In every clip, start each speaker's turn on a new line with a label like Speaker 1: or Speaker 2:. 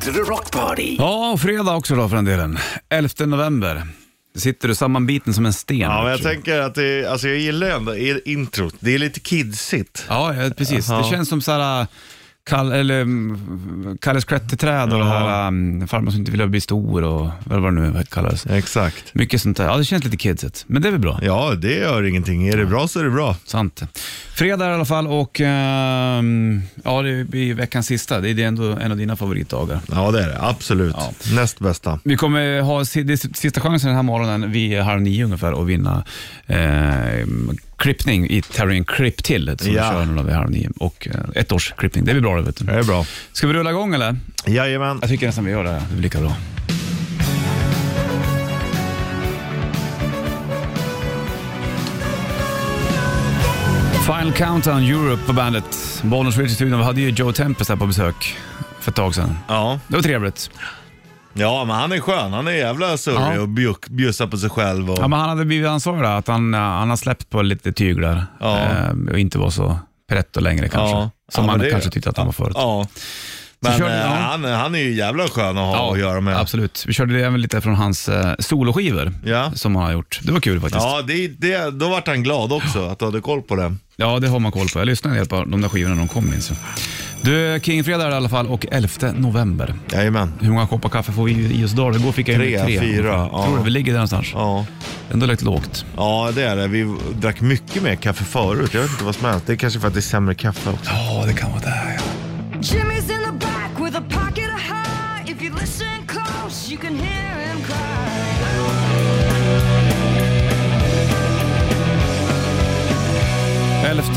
Speaker 1: to the rock party.
Speaker 2: Ja, och fredag också då för den delen. 11 november. Sitter du sammanbiten som en sten.
Speaker 3: Ja, men jag
Speaker 2: Richie.
Speaker 3: tänker att det, alltså jag gillar ändå er introt. Det är lite kidsigt.
Speaker 2: Ja, ja, precis. Det känns som såhär, Kall, eller, mm, Kalles klätterträd och det här um, farmor som inte ville bli stor och vad var det nu kallades.
Speaker 3: Exakt.
Speaker 2: Mycket sånt där. Ja, det känns lite kidsigt, men det är väl bra.
Speaker 3: Ja, det gör ingenting. Är det bra så är det bra.
Speaker 2: Sant. Fredag i alla fall och ehm, ja, det blir ju veckans sista. Det är det ändå en av dina favoritdagar.
Speaker 3: Ja, det är det. Absolut.
Speaker 2: Ja.
Speaker 3: Näst bästa.
Speaker 2: Vi kommer ha si- det är sista chansen den här morgonen vid halv nio ungefär att vinna eh, klippning i Terrien Clip till som
Speaker 3: Ja.
Speaker 2: vi kör nu vid halv nio. Och eh, ett års klippning, det blir bra det vet
Speaker 3: Det
Speaker 2: du.
Speaker 3: är bra.
Speaker 2: Ska vi rulla igång eller?
Speaker 3: Jajamän.
Speaker 2: Jag tycker nästan vi gör det. Det blir lika bra. Final Countdown Europe på bandet. Bollnäs Ridge i studion. Vi hade ju Joe Tempest här på besök för ett tag sedan.
Speaker 3: Ja.
Speaker 2: Det var trevligt.
Speaker 3: ja, men han är skön. Han är jävla surrig
Speaker 2: Ja.
Speaker 3: och bjuck- bjussar på sig själv. Och...
Speaker 2: Ja, men han hade blivit ansvarig där, att han, eh, han har släppt på lite tyglar
Speaker 3: Ja.
Speaker 2: eh, och inte var så pretto längre kanske.
Speaker 3: Ja.
Speaker 2: Som
Speaker 3: Ja,
Speaker 2: man
Speaker 3: men det-
Speaker 2: kanske tyckte att han var förut.
Speaker 3: Ja. Men
Speaker 2: körde-
Speaker 3: eh,
Speaker 2: ja.
Speaker 3: han, han är ju jävla skön att ha att göra med.
Speaker 2: Absolut. Vi körde även lite från hans eh, soloskivor
Speaker 3: Ja.
Speaker 2: som han har gjort. Det var kul faktiskt.
Speaker 3: Ja, det, det, då vart han glad också att du hade koll på det.
Speaker 2: Ja, det har man koll på. Jag lyssnade helt på de där skivorna när de kom minns jag. Du, Kingfredag är det i alla fall och 11 november.
Speaker 3: Jajamän.
Speaker 2: Hur många koppar kaffe får vi i oss idag? Igår fick jag i mig
Speaker 3: Tre, fyra, ja.
Speaker 2: Tror du vi ligger där någonstans?
Speaker 3: Ja.
Speaker 2: Ändå lite lågt.
Speaker 3: ja, det är det. Vi drack mycket mer kaffe förut. Jag vet inte vad som helst. Det är kanske för att det är sämre kaffe också.
Speaker 2: Ja, det kan vara där ja.
Speaker 4: Jimmy's in the back with a pocket of high. If you listen close, you can hear him cry.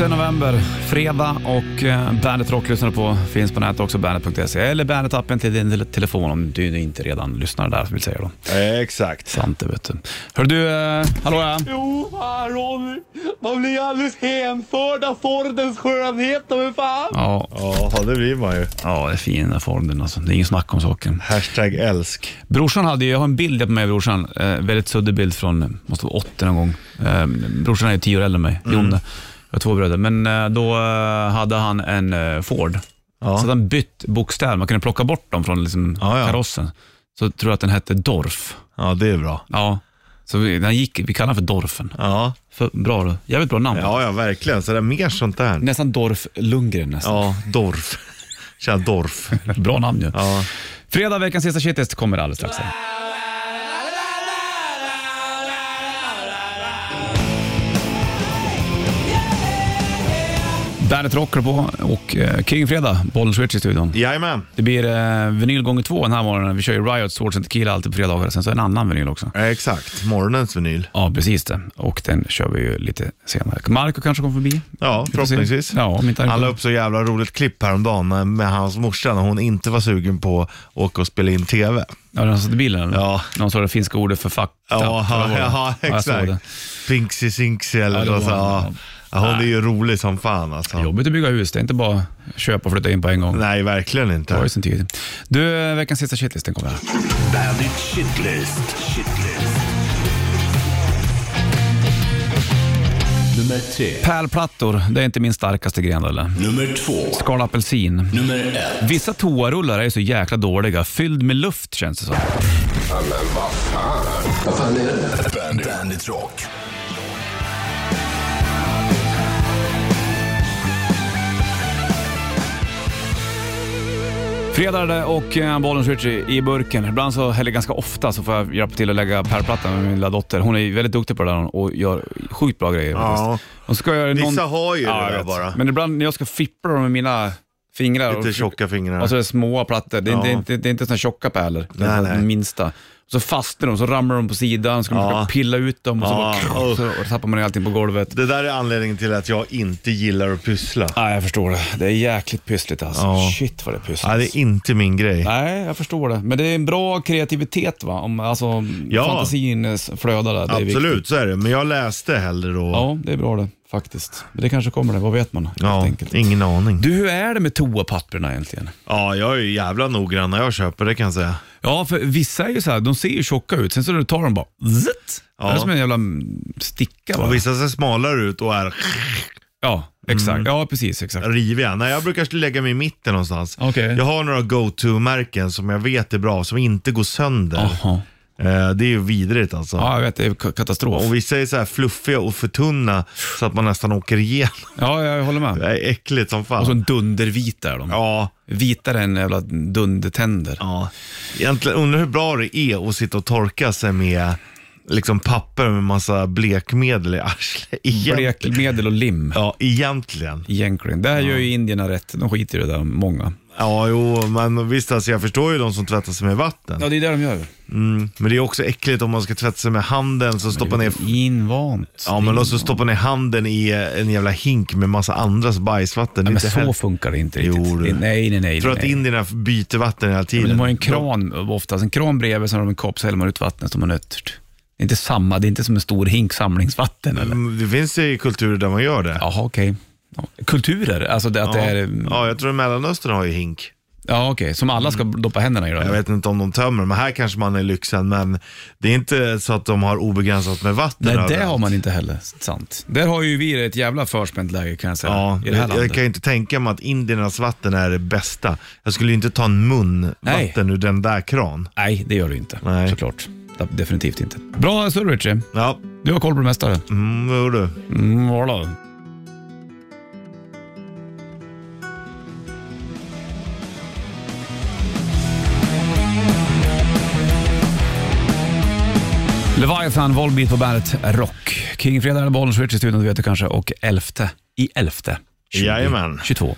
Speaker 2: november, fredag och eh, Bandet Rock lyssnar du på. Finns på nätet också, bandet.se. Eller Bandet-appen till din tele- telefon om du inte redan lyssnar där, vill säga då.
Speaker 3: Eh, exakt.
Speaker 2: Sant det vet du. Hör du, eh, hallå ja.
Speaker 5: Jo, fan Ronny. Man blir alldeles hänförd av Fordens skönhet, men fan.
Speaker 2: Ja,
Speaker 3: Ja, det blir man ju.
Speaker 2: ja, det är fin den där formen alltså. Det är ingen snack om saken.
Speaker 3: Hashtag älsk.
Speaker 2: Brorsan hade ju, jag har en bild på mig och brorsan, eh, väldigt suddig bild från, eh, måste vara 80 någon gång. Eh, brorsan är ju tio år äldre än mig,
Speaker 3: Mm.
Speaker 2: Jonne. Jag har två bröder. Men eh, då eh, hade han en eh, Ford. Så hade han bytt bokstäver, man kunde plocka bort dem från liksom,
Speaker 3: Ja, ja.
Speaker 2: karossen. Så tror jag att den hette Dorf.
Speaker 3: Ja, det är bra.
Speaker 2: Ja. Så vi, den gick, vi kallade den för Dorfen.
Speaker 3: Ja,
Speaker 2: För, bra då. Jävligt bra namn.
Speaker 3: ja, ja verkligen. Så det är mer sånt där.
Speaker 2: Nästan Dorf Lundgren nästan.
Speaker 3: Ja, Dorf. Tja, Dorf.
Speaker 2: Bra namn ju.
Speaker 3: Ja.
Speaker 2: Fredag, veckans sista shitlist, kommer alldeles strax. Här. Bandet rockar på och eh, King Fredag, Bollnäs Ritch i studion.
Speaker 3: Jajamän.
Speaker 2: Det blir eh, vinyl gånger två den här morgonen. Vi kör ju Riot, Swords and Tequila alltid på fredagar, sen så en annan vinyl också.
Speaker 3: Eh, Exakt. Morgonens vinyl.
Speaker 2: Ja, precis det. Och den kör vi ju lite senare. Marco kanske kommer förbi.
Speaker 3: Ja,
Speaker 2: Vi får se.
Speaker 3: förhoppningsvis.
Speaker 2: Ja, om inte
Speaker 3: Han la
Speaker 2: han
Speaker 3: upp så jävla roligt klipp häromdagen med, med hans morsa när hon inte var sugen på att åka och spela in TV.
Speaker 2: Ja, den satt i bilen eller?
Speaker 3: Ja.
Speaker 2: Någon sa det finska ordet för fakta.
Speaker 3: Ja,
Speaker 2: Vad var
Speaker 3: ja,
Speaker 2: det?
Speaker 3: ja
Speaker 2: jag såg
Speaker 3: exakt.
Speaker 2: det.
Speaker 3: Finksi sinksi eller
Speaker 2: Ja, det
Speaker 3: något
Speaker 2: var
Speaker 3: så. Ja.
Speaker 2: han.
Speaker 3: Ja, Hon är ju rolig som fan alltså.
Speaker 2: Jobbigt att bygga hus, det är inte bara köpa och flytta in på en gång.
Speaker 3: Nej, verkligen
Speaker 2: Det har
Speaker 3: inte.
Speaker 2: ju sin tid. Du, veckans sista shitlist, den kommer här.
Speaker 1: Bandit shitlist. Shitlist. Nummer tre.
Speaker 2: Pärlplattor, det är inte min starkaste gren eller?
Speaker 1: Nummer två.
Speaker 2: Skal apelsin.
Speaker 1: Nummer ett.
Speaker 2: Vissa toarullar är så jäkla dåliga, fylld med luft känns det som.
Speaker 1: Vad fan är det? Bandit, Bandit Rock.
Speaker 2: Fredag är det och eh, Bollens Ritchie i burken. Ibland så, eller ganska ofta, så får jag hjälpa till att lägga pärlplattan med min lilla dotter. Hon är ju väldigt duktig på det där hon, och gör sjukt bra grejer
Speaker 3: Ja.
Speaker 2: faktiskt. Hon ska göra
Speaker 3: Vissa
Speaker 2: någon...
Speaker 3: har ju det
Speaker 2: jag
Speaker 3: där
Speaker 2: vet.
Speaker 3: bara.
Speaker 2: Men ibland när jag ska fippla dem med mina fingrar
Speaker 3: Lite tjocka fingrar.
Speaker 2: Alltså det är små plattor. Det är,
Speaker 3: Ja.
Speaker 2: inte, inte, det är inte såna tjocka pärlor. Det
Speaker 3: Nej,
Speaker 2: är
Speaker 3: nej.
Speaker 2: den minsta. Så fastnar de, så ramlar de på sidan, så ska man
Speaker 3: Ja.
Speaker 2: försöka pilla ut dem och så,
Speaker 3: Ja.
Speaker 2: bara, och så tappar man allting på golvet.
Speaker 3: Det där är anledningen till att jag inte gillar att pyssla.
Speaker 2: Nej, jag förstår det. Det är jäkligt pyssligt alltså.
Speaker 3: Ja.
Speaker 2: Shit vad det är pyssligt.
Speaker 3: Ja, det är inte min grej.
Speaker 2: Nej, jag förstår det. Men det är en bra kreativitet va? Om, alltså,
Speaker 3: Ja.
Speaker 2: fantasin eh, flödar där. Det är viktigt.
Speaker 3: Absolut, så är det. Men jag läste hellre då.
Speaker 2: Ja, det är bra det faktiskt. Men det kanske kommer det, vad vet man helt
Speaker 3: Ja,
Speaker 2: enkelt.
Speaker 3: ingen aning.
Speaker 2: Du, hur är det med toapapperna egentligen?
Speaker 3: Ja, jag är ju jävla noggrann när jag köper, det kan jag säga.
Speaker 2: Ja, för vissa är ju så här, de ser ju tjocka ut, sen så när du tar dem bara zzt.
Speaker 3: Ja.
Speaker 2: Det är som en jävla mm, sticka. Va?
Speaker 3: Och vissa ser smalare ut och är...
Speaker 2: Ja, exakt.
Speaker 3: Mm.
Speaker 2: Ja, precis. Exakt.
Speaker 3: riviga. Nej, jag brukar lägga mig i mitten någonstans.
Speaker 2: Okej.
Speaker 3: Jag har några go-to-märken som jag vet är bra, som inte går sönder.
Speaker 2: Jaha.
Speaker 3: Eh, det är ju vidrigt alltså.
Speaker 2: Ja, jag vet. Det är ka- katastrof.
Speaker 3: Och vi säger så här fluffiga och för tunna så att man nästan åker igenom.
Speaker 2: Ja, jag håller med.
Speaker 3: Det är äckligt som fan.
Speaker 2: Och så dundervita är de.
Speaker 3: Ja,
Speaker 2: Vitare än jävla dundertänder.
Speaker 3: ja. Egentligen undrar hur bra det är att sitta och torka sig med liksom papper med massa blekmedel i arslet. Egent-
Speaker 2: Blekmedel och lim.
Speaker 3: Ja, egentligen.
Speaker 2: Egentligen. Där gör ju indierna rätt. De skiter i det där, många.
Speaker 3: Ja, jo, men visst alltså jag förstår ju de som tvättar sig med vatten.
Speaker 2: Ja, det är det de gör.
Speaker 3: Men det är också äckligt om man ska tvätta sig med handen så stoppar ner
Speaker 2: Invant.
Speaker 3: Ja, men och så stoppar ni handen i eh, en jävla hink med massa andras bajsvatten.
Speaker 2: Ja,
Speaker 3: Det är
Speaker 2: men
Speaker 3: inte
Speaker 2: så
Speaker 3: heller-
Speaker 2: funkar det inte
Speaker 3: Jo,
Speaker 2: riktigt.
Speaker 3: du.
Speaker 2: Det- Nej, nej, nej.
Speaker 3: Jag tror att
Speaker 2: nej.
Speaker 3: indierna byter vatten hela
Speaker 2: Men
Speaker 3: tiden.
Speaker 2: De har ju en kran oftast. En kran bredvid, sen har de en kopp, så häller man ut vattnet som man nötter. Det är inte samma, det är inte som en stor hink samlingsvatten eller?
Speaker 3: Mm, Det finns ju kulturer där man gör det.
Speaker 2: Jaha, okej. Ja. Kulturer, alltså det, att det är...
Speaker 3: ja jag tror att Mellanöstern har ju hink.
Speaker 2: Ja, okej. Som alla ska doppa händerna i då?
Speaker 3: Mm. Jag vet inte om de tömmer, men här kanske man är lyxen. Men det är inte så att de har obegränsat med vatten
Speaker 2: Nej, det
Speaker 3: överallt.
Speaker 2: har man inte heller. Sant. Där har ju vi ett jävla förspänt läge kan jag säga.
Speaker 3: Ja,
Speaker 2: I det här
Speaker 3: jag, jag
Speaker 2: landet.
Speaker 3: kan ju inte tänka mig att indiernas vatten är det bästa. Jag skulle ju inte ta en mun
Speaker 2: Nej.
Speaker 3: vatten ur den där kran.
Speaker 2: Nej, det gör du inte.
Speaker 3: Nej.
Speaker 2: Såklart. Definitivt inte. Bra surr Richie.
Speaker 3: Ja,
Speaker 2: Du har koll på det mesta. du.
Speaker 3: mm, vad gjorde du?
Speaker 2: Mm, voilà. Leviathan, Volbeat på bandet Rock. King Fredag eller Bollnäs Rich i studion, du vet det kanske. Och elfte i elfte. 20,
Speaker 3: Jajamän.
Speaker 2: 22.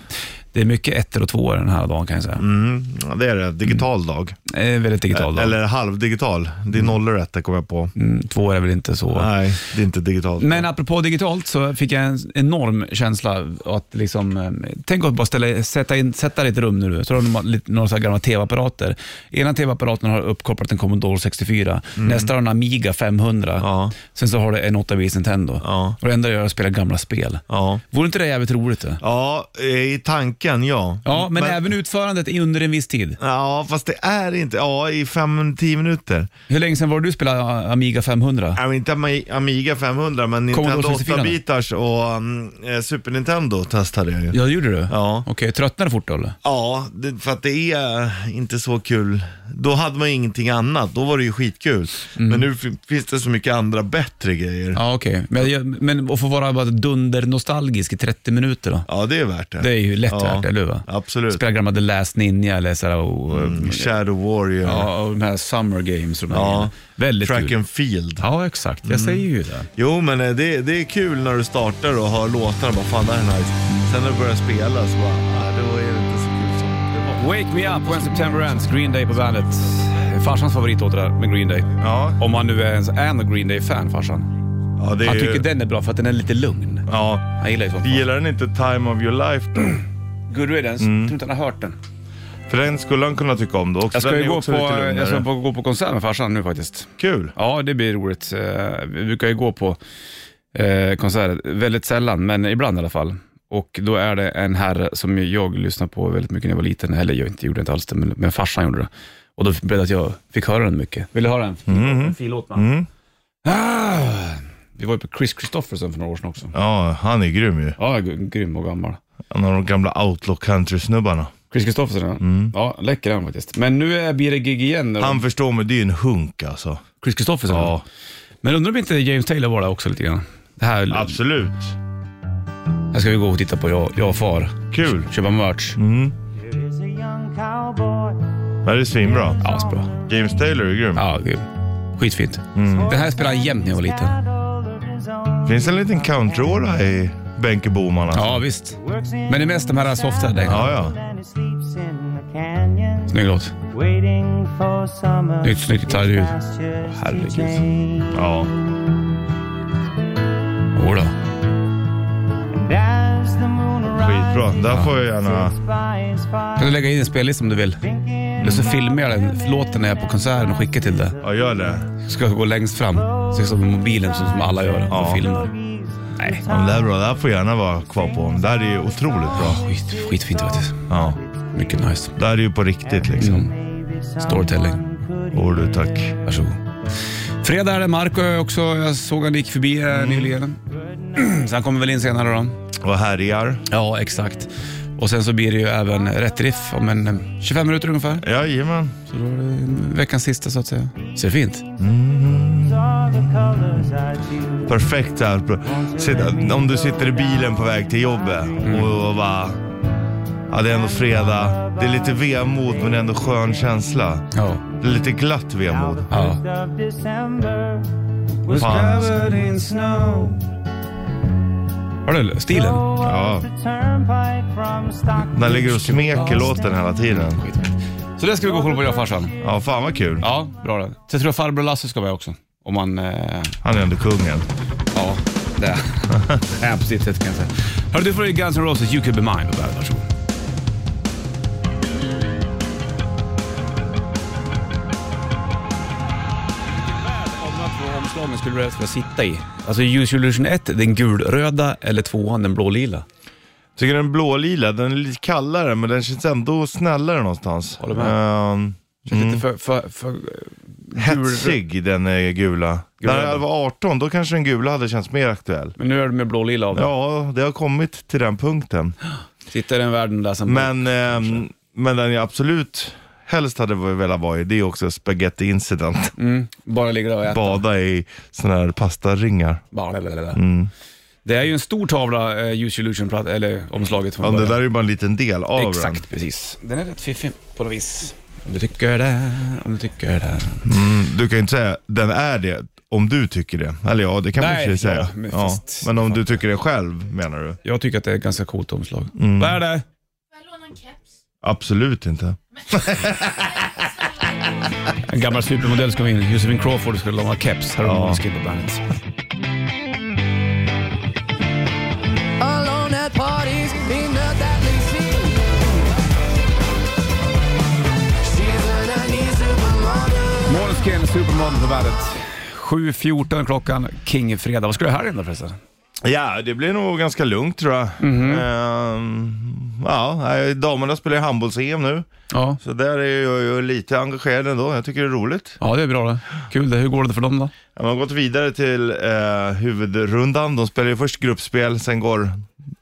Speaker 2: Det är mycket ettor och tvåor den här dagen kan jag säga.
Speaker 3: Mm, ja, det är det. Digital dag.
Speaker 2: Eh, väldigt digital dag.
Speaker 3: Eller halvdigital. Det är nollor rätt, det kom jag på.
Speaker 2: Mm, tvåor är väl inte så...
Speaker 3: Nej, det är inte digitalt.
Speaker 2: Men apropå digitalt så fick jag en enorm känsla att liksom, eh, tänk att bara ställa, sätta, in, sätta dig i ett rum nu, så har du ma- lite- några så här gamla tv-apparater. Ena tv-apparaten har uppkopplat en Commodore 64, nästa har en Amiga 500,
Speaker 3: Mm. Ja.
Speaker 2: sen så har du en 8 bits Nintendo.
Speaker 3: Ja.
Speaker 2: Och det enda jag gör är att spela gamla spel.
Speaker 3: Ja.
Speaker 2: Vore inte det jävligt roligt? Då?
Speaker 3: Ja, eh, i tanken ja.
Speaker 2: Ja, men, även utförandet är under en viss tid.
Speaker 3: Ja, fast det är inte. Ja, i 5-10 minuter.
Speaker 2: Hur länge sedan var det du spelade eh, Amiga 500?
Speaker 3: Ja, men inte Ami- Amiga 500, men
Speaker 2: Commodore
Speaker 3: Nintendo
Speaker 2: 64.
Speaker 3: 8-bitars och um, eh, Super Nintendo testade jag ju. Ja,
Speaker 2: Ja, det gjorde du?
Speaker 3: Ja.
Speaker 2: Okej, tröttnade du fort då eller?
Speaker 3: det, för att det är eh, inte så kul. Då hade man ju ingenting annat. Då var det ju skitkul. Men nu fin- finns det så mycket andra bättre grejer. Ja,
Speaker 2: Mm. Ja, okej. Men, jag- men att få vara bara dunder-nostalgisk i 30 minuter då?
Speaker 3: det är värt det.
Speaker 2: Det är ju lätt
Speaker 3: ja.
Speaker 2: värt, eller hur? va?
Speaker 3: Absolut.
Speaker 2: Spela gamla The Last Ninja eller så här, och,
Speaker 3: Mm. Shadow Warrior,
Speaker 2: ja, och de här Summer Games. Och de här
Speaker 3: Ja.
Speaker 2: grejerna. Väldigt
Speaker 3: Track
Speaker 2: kul.
Speaker 3: and Mm. Field.
Speaker 2: Ja, exakt. Jag säger ju det.
Speaker 3: Jo, men eh, det, det är kul när du startar och hör låtarna. Bara, fan, det här är nice. Sen när du börjar spela så bara, ah, då är det inte så kul som det var.
Speaker 2: Wake Me Up When September Ends, Green Day på bandet. Farsans favoritlåt det där med Green Day.
Speaker 3: Ja,
Speaker 2: Om han nu är en, är en Green Day-fan, farsan.
Speaker 3: ja det är
Speaker 2: Han
Speaker 3: ju-
Speaker 2: tycker den är bra för att den är lite lugn.
Speaker 3: Ja.
Speaker 2: Han gillar ju sånt.
Speaker 3: Gillar Mm. den inte Time of your life
Speaker 2: Mm.
Speaker 3: då?
Speaker 2: Good Riddance, tror inte han har hört den.
Speaker 3: För den skulle han kunna tycka om då också.
Speaker 2: Jag ska
Speaker 3: den
Speaker 2: ju
Speaker 3: är
Speaker 2: gå på, eh,
Speaker 3: också lite lugnare.
Speaker 2: jag ska på, gå på konsert med farsan nu faktiskt.
Speaker 3: Kul.
Speaker 2: Ja, det blir roligt. Eh, Vi brukar ju gå på eh, konserter, väldigt sällan, men ibland i alla fall. Och då är det en herre som ju jag lyssnade på väldigt mycket när jag var liten, eller jag inte, gjorde inte alls det, men, men farsan gjorde det. Och då blev det att jag fick höra den mycket. Vill du höra en,
Speaker 3: Mm-hmm.
Speaker 2: en fin låt? man? Ah, vi var ju på Chris Christofferson för några år sedan också.
Speaker 3: Ja, han är grym ju.
Speaker 2: Ja, gr- grym och gammal.
Speaker 3: Han har de gamla outlaw country-snubbarna.
Speaker 2: Chris Christofferson, ja. ja. Läcker han faktiskt. Men nu är- blir det gig igen. när de-
Speaker 3: Mm. Han förstår mig, det är ju en hunk alltså.
Speaker 2: Chris Christofferson?
Speaker 3: Ja.
Speaker 2: Men undrar om inte James Taylor var där också lite grann? Det här,
Speaker 3: Absolut.
Speaker 2: här ska vi gå och titta på, jag, jag och far.
Speaker 3: Kul.
Speaker 2: Köpa merch.
Speaker 3: Men Det är svinbra.
Speaker 2: Ja, så bra.
Speaker 3: James Taylor är grym.
Speaker 2: Ja, det är skitfint. Det här spelade jag jämt när jag var liten.
Speaker 3: Finns det en liten country-åra i Benke Boman alltså?
Speaker 2: Ja, visst. Men det är mest de här softare.
Speaker 3: Ja, ja.
Speaker 2: Snygg låt. Nytt snyggt gitarrljud. Herregud.
Speaker 3: Ja.
Speaker 2: Jodå.
Speaker 3: Skitbra. Där får jag gärna...
Speaker 2: Kan du lägga in en spellista om du vill? Eller så filmar jag den låten när jag är på konserten och skickar till dig.
Speaker 3: Ja, gör det.
Speaker 2: Ska jag gå längst fram. Så som med mobilen så som alla gör.
Speaker 3: Ja.
Speaker 2: Och filmar. Nej.
Speaker 3: Ja, men det här är bra. Det här får jag gärna vara kvar på. Det här är ju otroligt bra.
Speaker 2: Skit, skitfint faktiskt.
Speaker 3: Ja.
Speaker 2: Mycket nice.
Speaker 3: Det här är ju på riktigt liksom.
Speaker 2: Storytelling.
Speaker 3: Åh du, tack.
Speaker 2: Varsågod. Fredag är det. Marco är också. Jag såg han gick förbi här nyligen. Så han kommer väl in senare då.
Speaker 3: och härjar.
Speaker 2: Ja, exakt. Och sen så blir det ju även rätt riff om en eh, 25 minuter ungefär.
Speaker 3: Jajamän.
Speaker 2: Så då är det veckans sista så att säga. Så det är fint.
Speaker 3: Perfekt så här. Sitta- Om du sitter i bilen på väg till jobbet
Speaker 2: Mm.
Speaker 3: och, och bara... Ja, det är ändå fredag. Det är lite vemod men ändå skön känsla.
Speaker 2: Ja.
Speaker 3: Det är lite glatt vemod.
Speaker 2: ja.
Speaker 3: Fan.
Speaker 2: Har du stilen?
Speaker 3: Ja. Den ligger och smeker låten hela tiden.
Speaker 2: Så det ska vi gå och kolla på jag och farsan.
Speaker 3: Ja, fan vad kul.
Speaker 2: Ja, bra det. Så jag tror att farbror Lasse ska vara också. Om man... Eh,
Speaker 3: Han är ändå kungen.
Speaker 2: ja, det är på sitt sätt kan jag säga. Hörru, du får ju Guns N' Roses You Could Be Mine på bandet. Varsågod. omslagen skulle du helst vilja sitta i? Alltså Use Your Illusion 1, den gulröda eller tvåan, den blålila?
Speaker 3: Tycker den blålila, den är lite kallare men den känns ändå snällare någonstans.
Speaker 2: Håller med.
Speaker 3: Ehm,
Speaker 2: Känns lite för, för, för
Speaker 3: hetsig den är gula.
Speaker 2: Gula,
Speaker 3: När
Speaker 2: ja.
Speaker 3: jag var 18 då kanske den gula hade känts mer aktuell.
Speaker 2: Men nu är du med blålila av det.
Speaker 3: Ja, det har kommit till den punkten.
Speaker 2: Sitta i den världen där som...
Speaker 3: Men, ehm, men den jag absolut helst hade velat vara i, det är också spaghetti incident.
Speaker 2: Mm, bara ligger där och äter.
Speaker 3: Bada i såna här pastaringar.
Speaker 2: Blablabla.
Speaker 3: Mm.
Speaker 2: Det är ju en stor tavla, eh, Use Illusion, plat- eller omslaget från
Speaker 3: Ja, det
Speaker 2: början.
Speaker 3: där är ju bara en liten del av den.
Speaker 2: Exakt, precis. Den är rätt fiffig på något vis. Om du tycker det, om du tycker det.
Speaker 3: Mm, du kan ju inte säga den är det om du tycker det. Eller ja, det kan man i och
Speaker 2: Nej,
Speaker 3: för sig
Speaker 2: ja,
Speaker 3: säga.
Speaker 2: men
Speaker 3: Ja,
Speaker 2: fast-
Speaker 3: men om du tycker det själv menar du?
Speaker 2: Jag tycker att det är ett ganska coolt omslag. Vad
Speaker 6: Får
Speaker 2: är det?
Speaker 6: jag låna en keps?
Speaker 3: Absolut inte.
Speaker 2: En gammal supermodell ska vi in. Josephine Crawford skulle låna keps. Här har
Speaker 3: Ja.
Speaker 2: hon skrivit på bandet.
Speaker 5: Alone at parties in the deadly scene. She's an uneasy mother.
Speaker 2: Måneskin, Supermodel på bandet. 7.14 klockan, King-fredag. Vad ska du göra här inne förresten?
Speaker 3: Ja, det blir nog ganska lugnt tror jag. Ehm, ja, nej, damerna spelar ju handbolls-EM nu.
Speaker 2: Ja.
Speaker 3: Så där är jag ju lite engagerad ändå. Jag tycker det är roligt.
Speaker 2: ja, det är bra det. Kul det. Hur går det för dem då?
Speaker 3: Ja, Man har gått vidare till eh, huvudrundan. De spelar ju först gruppspel, sen går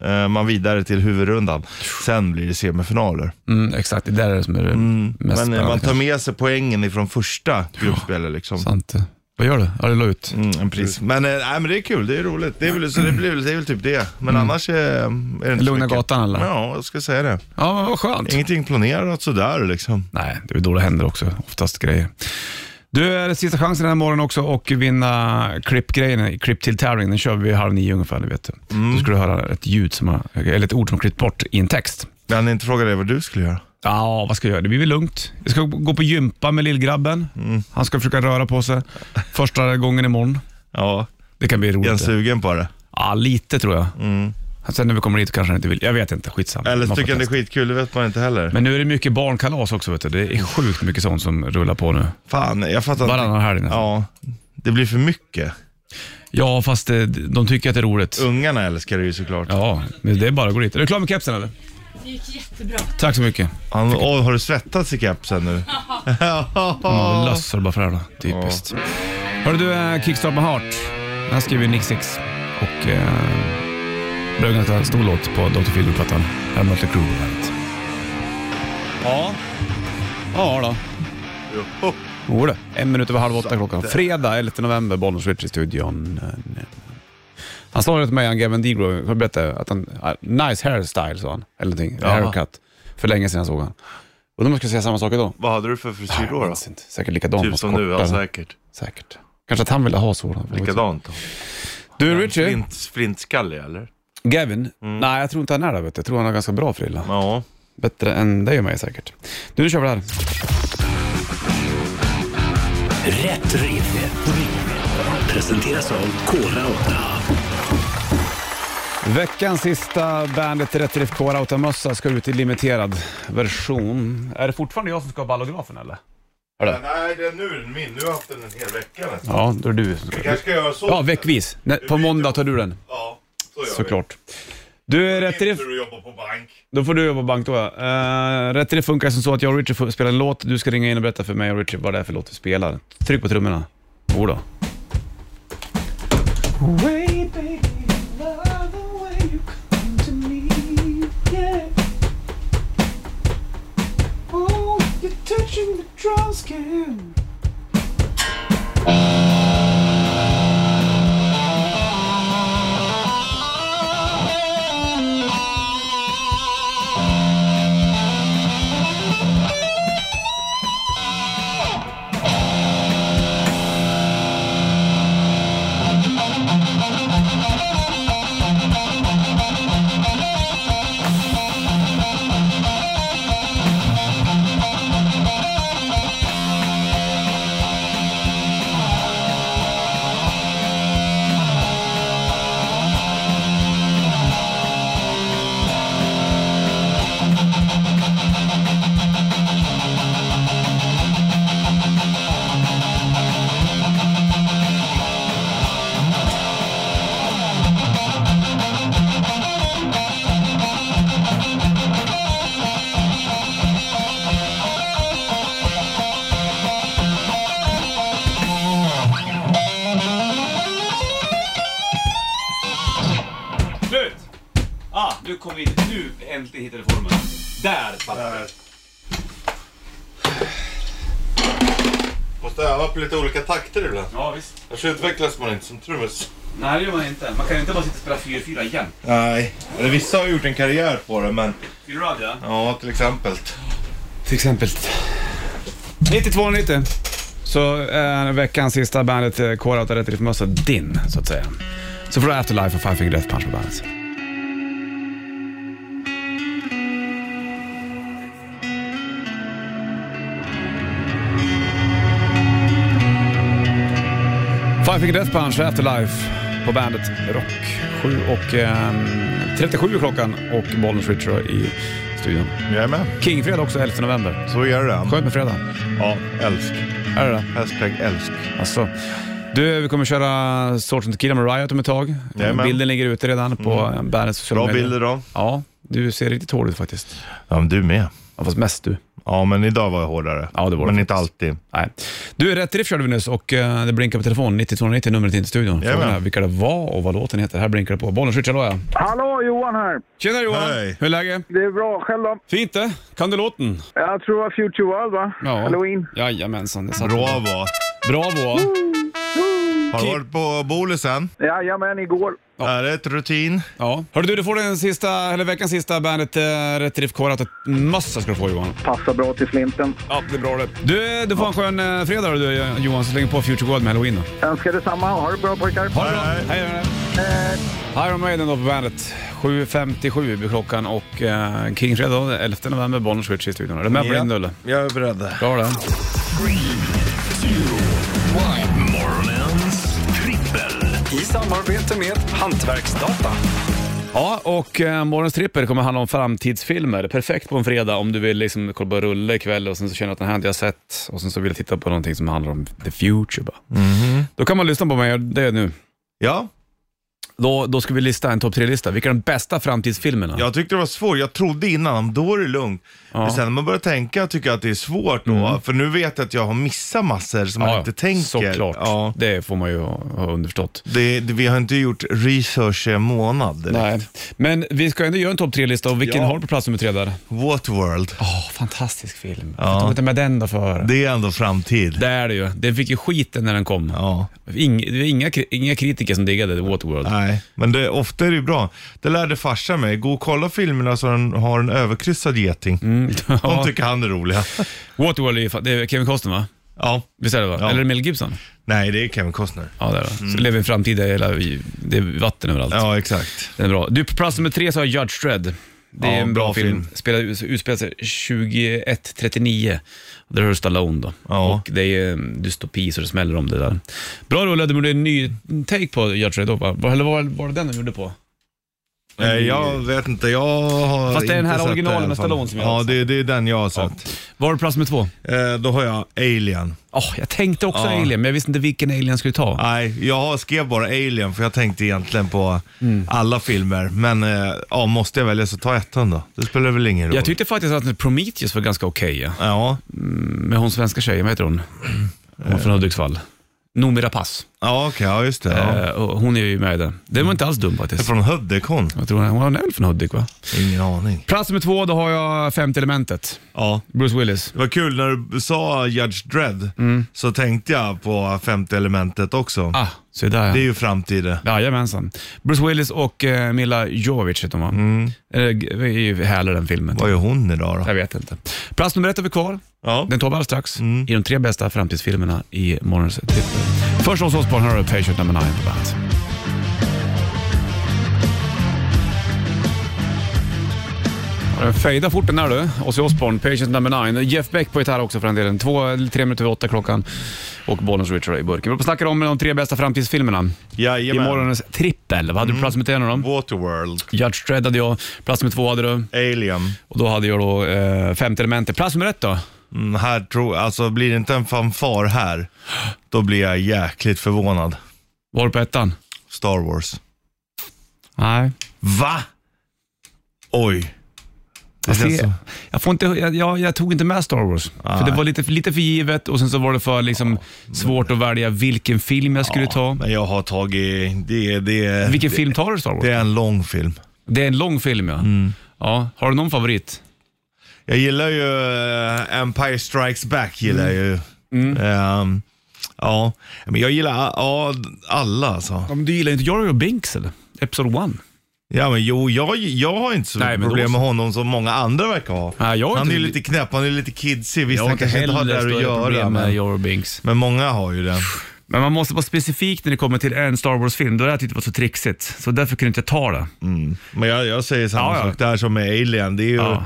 Speaker 3: eh, man vidare till huvudrundan. Sen blir det semifinaler.
Speaker 2: Mm, exakt, det där är det som är det mest
Speaker 3: Men eh,
Speaker 2: spännande.
Speaker 3: man tar
Speaker 2: kanske.
Speaker 3: med sig poängen ifrån första gruppspelet liksom.
Speaker 2: Sant. Vad gör du? Ja, det la ut.
Speaker 3: Mm, precis. Men, eh, nej, men det är kul, det är roligt. Det är väl, så det, blir, väl- det är väl typ det. Men annars eh, är det inte så
Speaker 2: Mm. Lugna
Speaker 3: mycket.
Speaker 2: gatan eller?
Speaker 3: Ja, jag ska säga det.
Speaker 2: Ja, men vad skönt.
Speaker 3: Ingenting planerat sådär liksom.
Speaker 2: Nej, det är väl då det händer också, oftast grejer. Du, är det sista chansen den här morgonen också och vinna klippgrejen, klipp till tävlingen. Den kör vi halv nio ungefär, det vet du.
Speaker 3: Mm.
Speaker 2: Då ska du höra ett ljud, som har, eller ett ord som har klippt bort i en text.
Speaker 3: Jag hann inte fråga dig vad du skulle göra.
Speaker 2: Ja, vad ska jag göra? Det blir väl lugnt. Jag ska gå på gympa med lillgrabben.
Speaker 3: Mm.
Speaker 2: Han ska försöka röra på sig första gången imorgon.
Speaker 3: Ja,
Speaker 2: Det kan bli
Speaker 3: är han
Speaker 2: roligt.
Speaker 3: sugen på det?
Speaker 2: Ja, lite tror jag. Sen när vi kommer dit kanske han inte vill. Jag vet inte, skitsamma.
Speaker 3: Mm. Eller
Speaker 2: Man får
Speaker 3: tycker han det är
Speaker 2: testa.
Speaker 3: skitkul? Det vet man inte heller.
Speaker 2: Men nu är det mycket barnkalas också. Vet du. Det är sjukt mycket sånt som rullar på nu.
Speaker 3: Fan, jag fattar inte.
Speaker 2: Varannan helg nästan.
Speaker 3: Ja, det blir för mycket.
Speaker 2: Ja, fast eh, de tycker att det är roligt.
Speaker 3: Ungarna älskar det ju såklart.
Speaker 2: Ja, men det är bara att gå dit. Är du klar med kepsen eller?
Speaker 6: Det gick jättebra.
Speaker 2: Tack så mycket.
Speaker 3: Han, åh, har du svettats i kepsen nu?
Speaker 2: Oh. Löss för bara för det här då. Typiskt. Hörru du, eh, Kickstart My Heart. Den här skriver Nick Six och eh, blev en ganska stor låt på Dr. Philby-plattan. Här mötte Crew på bandet. Ja. Ja då. Jo du. En minut över halv åtta klockan. Fredag 11 november, Bollnäs Rich i studion. Han sa det till mig, han Gavin Degro, jag berättade att han, ah, nice hairstyle sa han, eller någonting, haircut. För länge sedan jag såg han. Undrar om jag skulle säga samma sak idag.
Speaker 3: Vad hade du för frisyr då?
Speaker 2: Jag minns inte. Säkert likadan
Speaker 3: Typ
Speaker 2: fast
Speaker 3: som nu, ja
Speaker 2: kortare.
Speaker 3: säkert.
Speaker 2: Säkert. Kanske att han ville ha sådan.
Speaker 3: Likadant då.
Speaker 2: Du Richie,
Speaker 3: Flint, flintskallig eller?
Speaker 2: Gavin. Nej, jag tror inte han är där. Vet du. Jag tror han har ganska bra frilla.
Speaker 3: Mm. Ja.
Speaker 2: Bättre än dig och mig säkert. Du, nu kör vi det här.
Speaker 1: Rätt riff. Presenteras av Kora 8.
Speaker 2: Veckans sista Bandet Rätt Riff Core Autamössa ska ut i limiterad version. Är det fortfarande jag som ska ha ballografen eller?
Speaker 3: Nej, det är nu är den min. Nu har jag haft den en hel vecka nästan.
Speaker 2: Ja, då är det du som ska.
Speaker 3: kanske ska göra så.
Speaker 2: Ja, veckvis. Nej, på måndag tar du den,
Speaker 3: Ja, så gör
Speaker 2: såklart. Du, är Rätt Riff...
Speaker 3: du jobbar på bank.
Speaker 2: Då får du jobba bank då. Uh, rätt till det funkar som så att jag och Richard får spela en låt. Du ska ringa in och berätta för mig och Richard vad det är för låt vi spelar. Tryck på trummorna. Oh då. strong skin. Slut! Ah, nu kom vi in. Nu äntligen hittade vi formen. Där fattar jag.
Speaker 3: Måste öva på lite olika takter ibland.
Speaker 2: Ja, visst.
Speaker 3: Annars utvecklas man inte som trummis.
Speaker 2: Nej, det gör man inte. Man kan inte bara sitta och spela 4-4 igen.
Speaker 3: Nej, eller vissa har gjort en karriär på det men...
Speaker 2: Fyller du av det?
Speaker 3: Ja, till exempel.
Speaker 2: Till exempel. 9290. Så eh, veckans sista bandet eh, K-Rauta Rätt Riff Mössa, din så att säga. Så får du Afterlife och Five Finger Death Punch på bandet. Five Finger Death Punch, Afterlife på bandet Rock. 7 och eh, 37 är klockan och Bollnäs Richard i studion.
Speaker 3: Jag är med.
Speaker 2: Kingfredag också 11 november.
Speaker 3: Så gör det.
Speaker 2: Skönt med fredag.
Speaker 3: Ja, älsk.
Speaker 2: Är det det?
Speaker 3: Hashtag älsk.
Speaker 2: Alltså. Du, vi kommer köra Sort Tequila med Riot om ett tag.
Speaker 3: Jajamän.
Speaker 2: Bilden ligger ute redan på mm. bandets sociala
Speaker 3: Bra
Speaker 2: medier.
Speaker 3: bilder då.
Speaker 2: Ja, du ser riktigt hård ut faktiskt.
Speaker 3: Ja, men du med.
Speaker 2: Ja, fast mest du.
Speaker 3: Ja, men idag var jag hårdare.
Speaker 2: Ja, det var
Speaker 3: men
Speaker 2: det
Speaker 3: inte
Speaker 2: faktiskt.
Speaker 3: alltid.
Speaker 2: Nej. Du, Rätt Riff körde vi nyss och eh, det blinkar på telefonen. 9290 numret in till studion.
Speaker 3: Jajamän.
Speaker 2: Frågan är vilka det var och vad låten heter. Här blinkar det på. Bollen switch, hallå ja.
Speaker 7: Hallå, Johan här.
Speaker 2: Tjena Johan!
Speaker 3: Hej.
Speaker 2: Hur är läget?
Speaker 7: Det är bra. Själv då?
Speaker 2: Fint det. Kan du låten?
Speaker 7: Jag tror det var Future World, va? Halloween.
Speaker 2: Jajamensan. det satt.
Speaker 3: Bravo.
Speaker 2: Bravo!
Speaker 3: Har du varit på Bolisen?
Speaker 7: Jajamän, igår.
Speaker 3: Är det ett rutin?
Speaker 2: Ja. Hörru du, du får den sista, eller veckans sista bandet eh, Rätt Riff Core mössa ska du få Johan.
Speaker 7: Passar bra till flinten.
Speaker 2: Ja, det är bra det. Du, du får en skön eh, fredag då, du Johan, så slänger på Future Gold med Halloween då.
Speaker 7: Önskar detsamma. Ha det bra pojkar.
Speaker 2: Ha det bra. Hej, hej. hej. Iron Maiden då på bandet. 7.57 blir klockan och eh, King Fredag då, 11 november, Bonniers Switch i studion. Är du med på din Nulle?
Speaker 3: Jag är beredd.
Speaker 2: Bra det.
Speaker 1: Morgonens trippel.
Speaker 8: I samarbete med Hantverksdata.
Speaker 2: Ja, och eh, morgons trippel kommer handla om framtidsfilmer. Perfekt på en fredag om du vill liksom kolla på rulle ikväll och sen så känner du att den här har inte jag sett och sen så vill du titta på någonting som handlar om the future bara.
Speaker 3: Mhm.
Speaker 2: Då kan man lyssna på mig, det är nu.
Speaker 3: Ja,
Speaker 2: Då, då ska vi lista en topp tre-lista. Vilka är de bästa framtidsfilmerna?
Speaker 3: jag tyckte det var svårt. Jag trodde innan, då är det lugnt. Men sen när man börjar tänka tycker jag att det är svårt då. För nu vet jag att jag har missat massor som man inte tänker.
Speaker 2: Såklart,
Speaker 3: Ja.
Speaker 2: det får man ju ha ha underförstått.
Speaker 3: Det, det, vi har inte gjort research i en månad. direkt.
Speaker 2: Nej, men vi ska ändå göra en topp tre-lista och vilken
Speaker 3: Ja.
Speaker 2: har du på plats nummer tre där?
Speaker 3: Waterworld,
Speaker 2: Åh, fantastisk film. Jag tog inte med den då för. Det...
Speaker 3: det är ändå framtid.
Speaker 2: är det ju. Den fick ju skiten när den kom.
Speaker 3: Ja.
Speaker 2: Ing, det var inga, kri- inga kritiker som diggade Waterworld.
Speaker 3: Nej, men det, ofta är det ju bra. Det lärde farsan mig. Gå och kolla filmerna så den har en överkryssad geting.
Speaker 2: Mm.
Speaker 3: De tycker han är roliga.
Speaker 2: Waterworld är ju fa- det är Kevin Costner va?
Speaker 3: Ja.
Speaker 2: Visst är det va?
Speaker 3: Ja.
Speaker 2: Eller Mel Gibson?
Speaker 3: Nej, det är Kevin Costner.
Speaker 2: Ja, det är det. Så det lever vi i en framtid där hela, i- det är vatten överallt.
Speaker 3: Ja, exakt.
Speaker 2: Den är bra. Du, på plats nummer tre så har jag Judge Dredd. Det är
Speaker 3: Ja,
Speaker 2: en bra,
Speaker 3: bra
Speaker 2: film.
Speaker 3: film.
Speaker 2: Spelar, utspelar sig 2139. Där har du Stallone då.
Speaker 3: Ja.
Speaker 2: Och det är en dystopi så det smäller om det där. Bra rulle, du gjorde en ny take på Judge Dredd då va? Eller var, var det den du gjorde på?
Speaker 3: Nej, jag vet inte. Jag har
Speaker 2: Fast det är den här
Speaker 3: inte sett
Speaker 2: originalen
Speaker 3: i alla
Speaker 2: med
Speaker 3: fall.
Speaker 2: Stallone som jag har
Speaker 3: Ja,
Speaker 2: sett.
Speaker 3: det, det är den jag har sett.
Speaker 2: Var det plats nummer två?
Speaker 3: Eh, då har jag Alien.
Speaker 2: Ja, jag tänkte också
Speaker 3: Ja.
Speaker 2: Alien, men jag visste inte vilken Alien jag skulle ta.
Speaker 3: Nej, jag har- skrev bara Alien för jag tänkte egentligen på
Speaker 2: Mm.
Speaker 3: alla filmer. Men eh, ja, måste jag välja så ta ettan då. Det spelar väl ingen roll.
Speaker 2: Jag tyckte faktiskt att Prometheus var ganska okej, ja.
Speaker 3: Ja,
Speaker 2: med hon svenska tjejen, vad heter hon? Hon från Hudiksvall. Noomi Rapace.
Speaker 3: Ja, okej, ja just det. Ja. Mm.
Speaker 2: Eh, och hon är ju med i den. Den var inte alls dum
Speaker 3: Det är
Speaker 2: faktiskt.
Speaker 3: Från Hövdekon.
Speaker 2: Jag tror hon är väl från Hudik va?
Speaker 3: Ingen aning.
Speaker 2: Plats nummer två, då har jag femte elementet.
Speaker 3: Ja.
Speaker 2: Bruce Willis.
Speaker 3: Det var kul när du sa Judge Dredd, så tänkte jag på femte elementet också.
Speaker 2: Mm. Ah, se där ja.
Speaker 3: Det är ju framtiden.
Speaker 2: Jajamensan. Bruce Willis och eh, Mila Jovovich heter hon mm. Det är ju härlig den filmen. typ.
Speaker 3: Vad gör hon idag
Speaker 2: Jag
Speaker 3: då?
Speaker 2: vet inte. Plats nummer ett har vi kvar.
Speaker 3: Ja.
Speaker 2: Den tar vi alldeles strax i de tre bästa framtidsfilmerna i morgons tipp. Först hos oss på Hör Patient nummer 9 på bandet. Ja, den Fejda fort den här du. Ozzy Osbourne, Patient number 9. Jeff Beck på gitarr också för den delen. Två, eller tre minuter över åtta klockan. Och Bollens Richard i burken. Vi håller på och snackar om de tre bästa framtidsfilmerna. I
Speaker 3: Jajamän.
Speaker 2: morgonens trippel. Vad hade du på plats med en av dem?
Speaker 3: Waterworld,
Speaker 2: Judge Dredd hade jag. Plats med två hade du.
Speaker 3: Alien.
Speaker 2: Och då hade jag då eh, femte elementet. Plats med ett då?
Speaker 3: Mm, här tror, alltså blir det inte en fanfar här, då blir jag jäkligt förvånad.
Speaker 2: Var du på ettan?
Speaker 3: Star Wars.
Speaker 2: Nej.
Speaker 3: Va? Oj. Det
Speaker 2: Jag,
Speaker 3: känns
Speaker 2: ser,
Speaker 3: så.
Speaker 2: jag, får inte, jag, jag, jag tog inte med Star Wars. För det var lite, för- lite för givet och sen så var det för liksom, svårt att välja vilken film jag skulle ta.
Speaker 3: Men jag har tagit, det, det,
Speaker 2: Vilken film tar du Star Wars?
Speaker 3: det Mm.
Speaker 2: Det,
Speaker 3: är en lång film.
Speaker 2: är en lång film ja. ja. Har du någon favorit?
Speaker 3: Jag gillar ju eh, Empire Strikes Back. gillar jag ju.
Speaker 2: Mm.
Speaker 3: Ehm, ja, men jag gillar ja, alla alltså.
Speaker 2: Ja, men du gillar inte Jarjo Binks eller? Episod 1?
Speaker 3: Ja, men jo, jag, jag har inte så
Speaker 2: Nej, men
Speaker 3: mycket problem
Speaker 2: då-
Speaker 3: med honom som många andra verkar ha.
Speaker 2: Nej, jag har
Speaker 3: han är
Speaker 2: inte-
Speaker 3: ju lite knäpp, han är lite kidsig. Visst, han kanske inte har det där att göra,
Speaker 2: med
Speaker 3: men,
Speaker 2: Jarjo Binks.
Speaker 3: men många har ju det.
Speaker 2: Men man måste vara specifik när det kommer till en Star Wars-film. Då har jag tyckt det var så trixigt, så därför kunde inte jag ta det.
Speaker 3: Men jag, jag säger samma
Speaker 2: Ja, ja.
Speaker 3: sak där som med Alien. Det, är ju,
Speaker 2: Ja.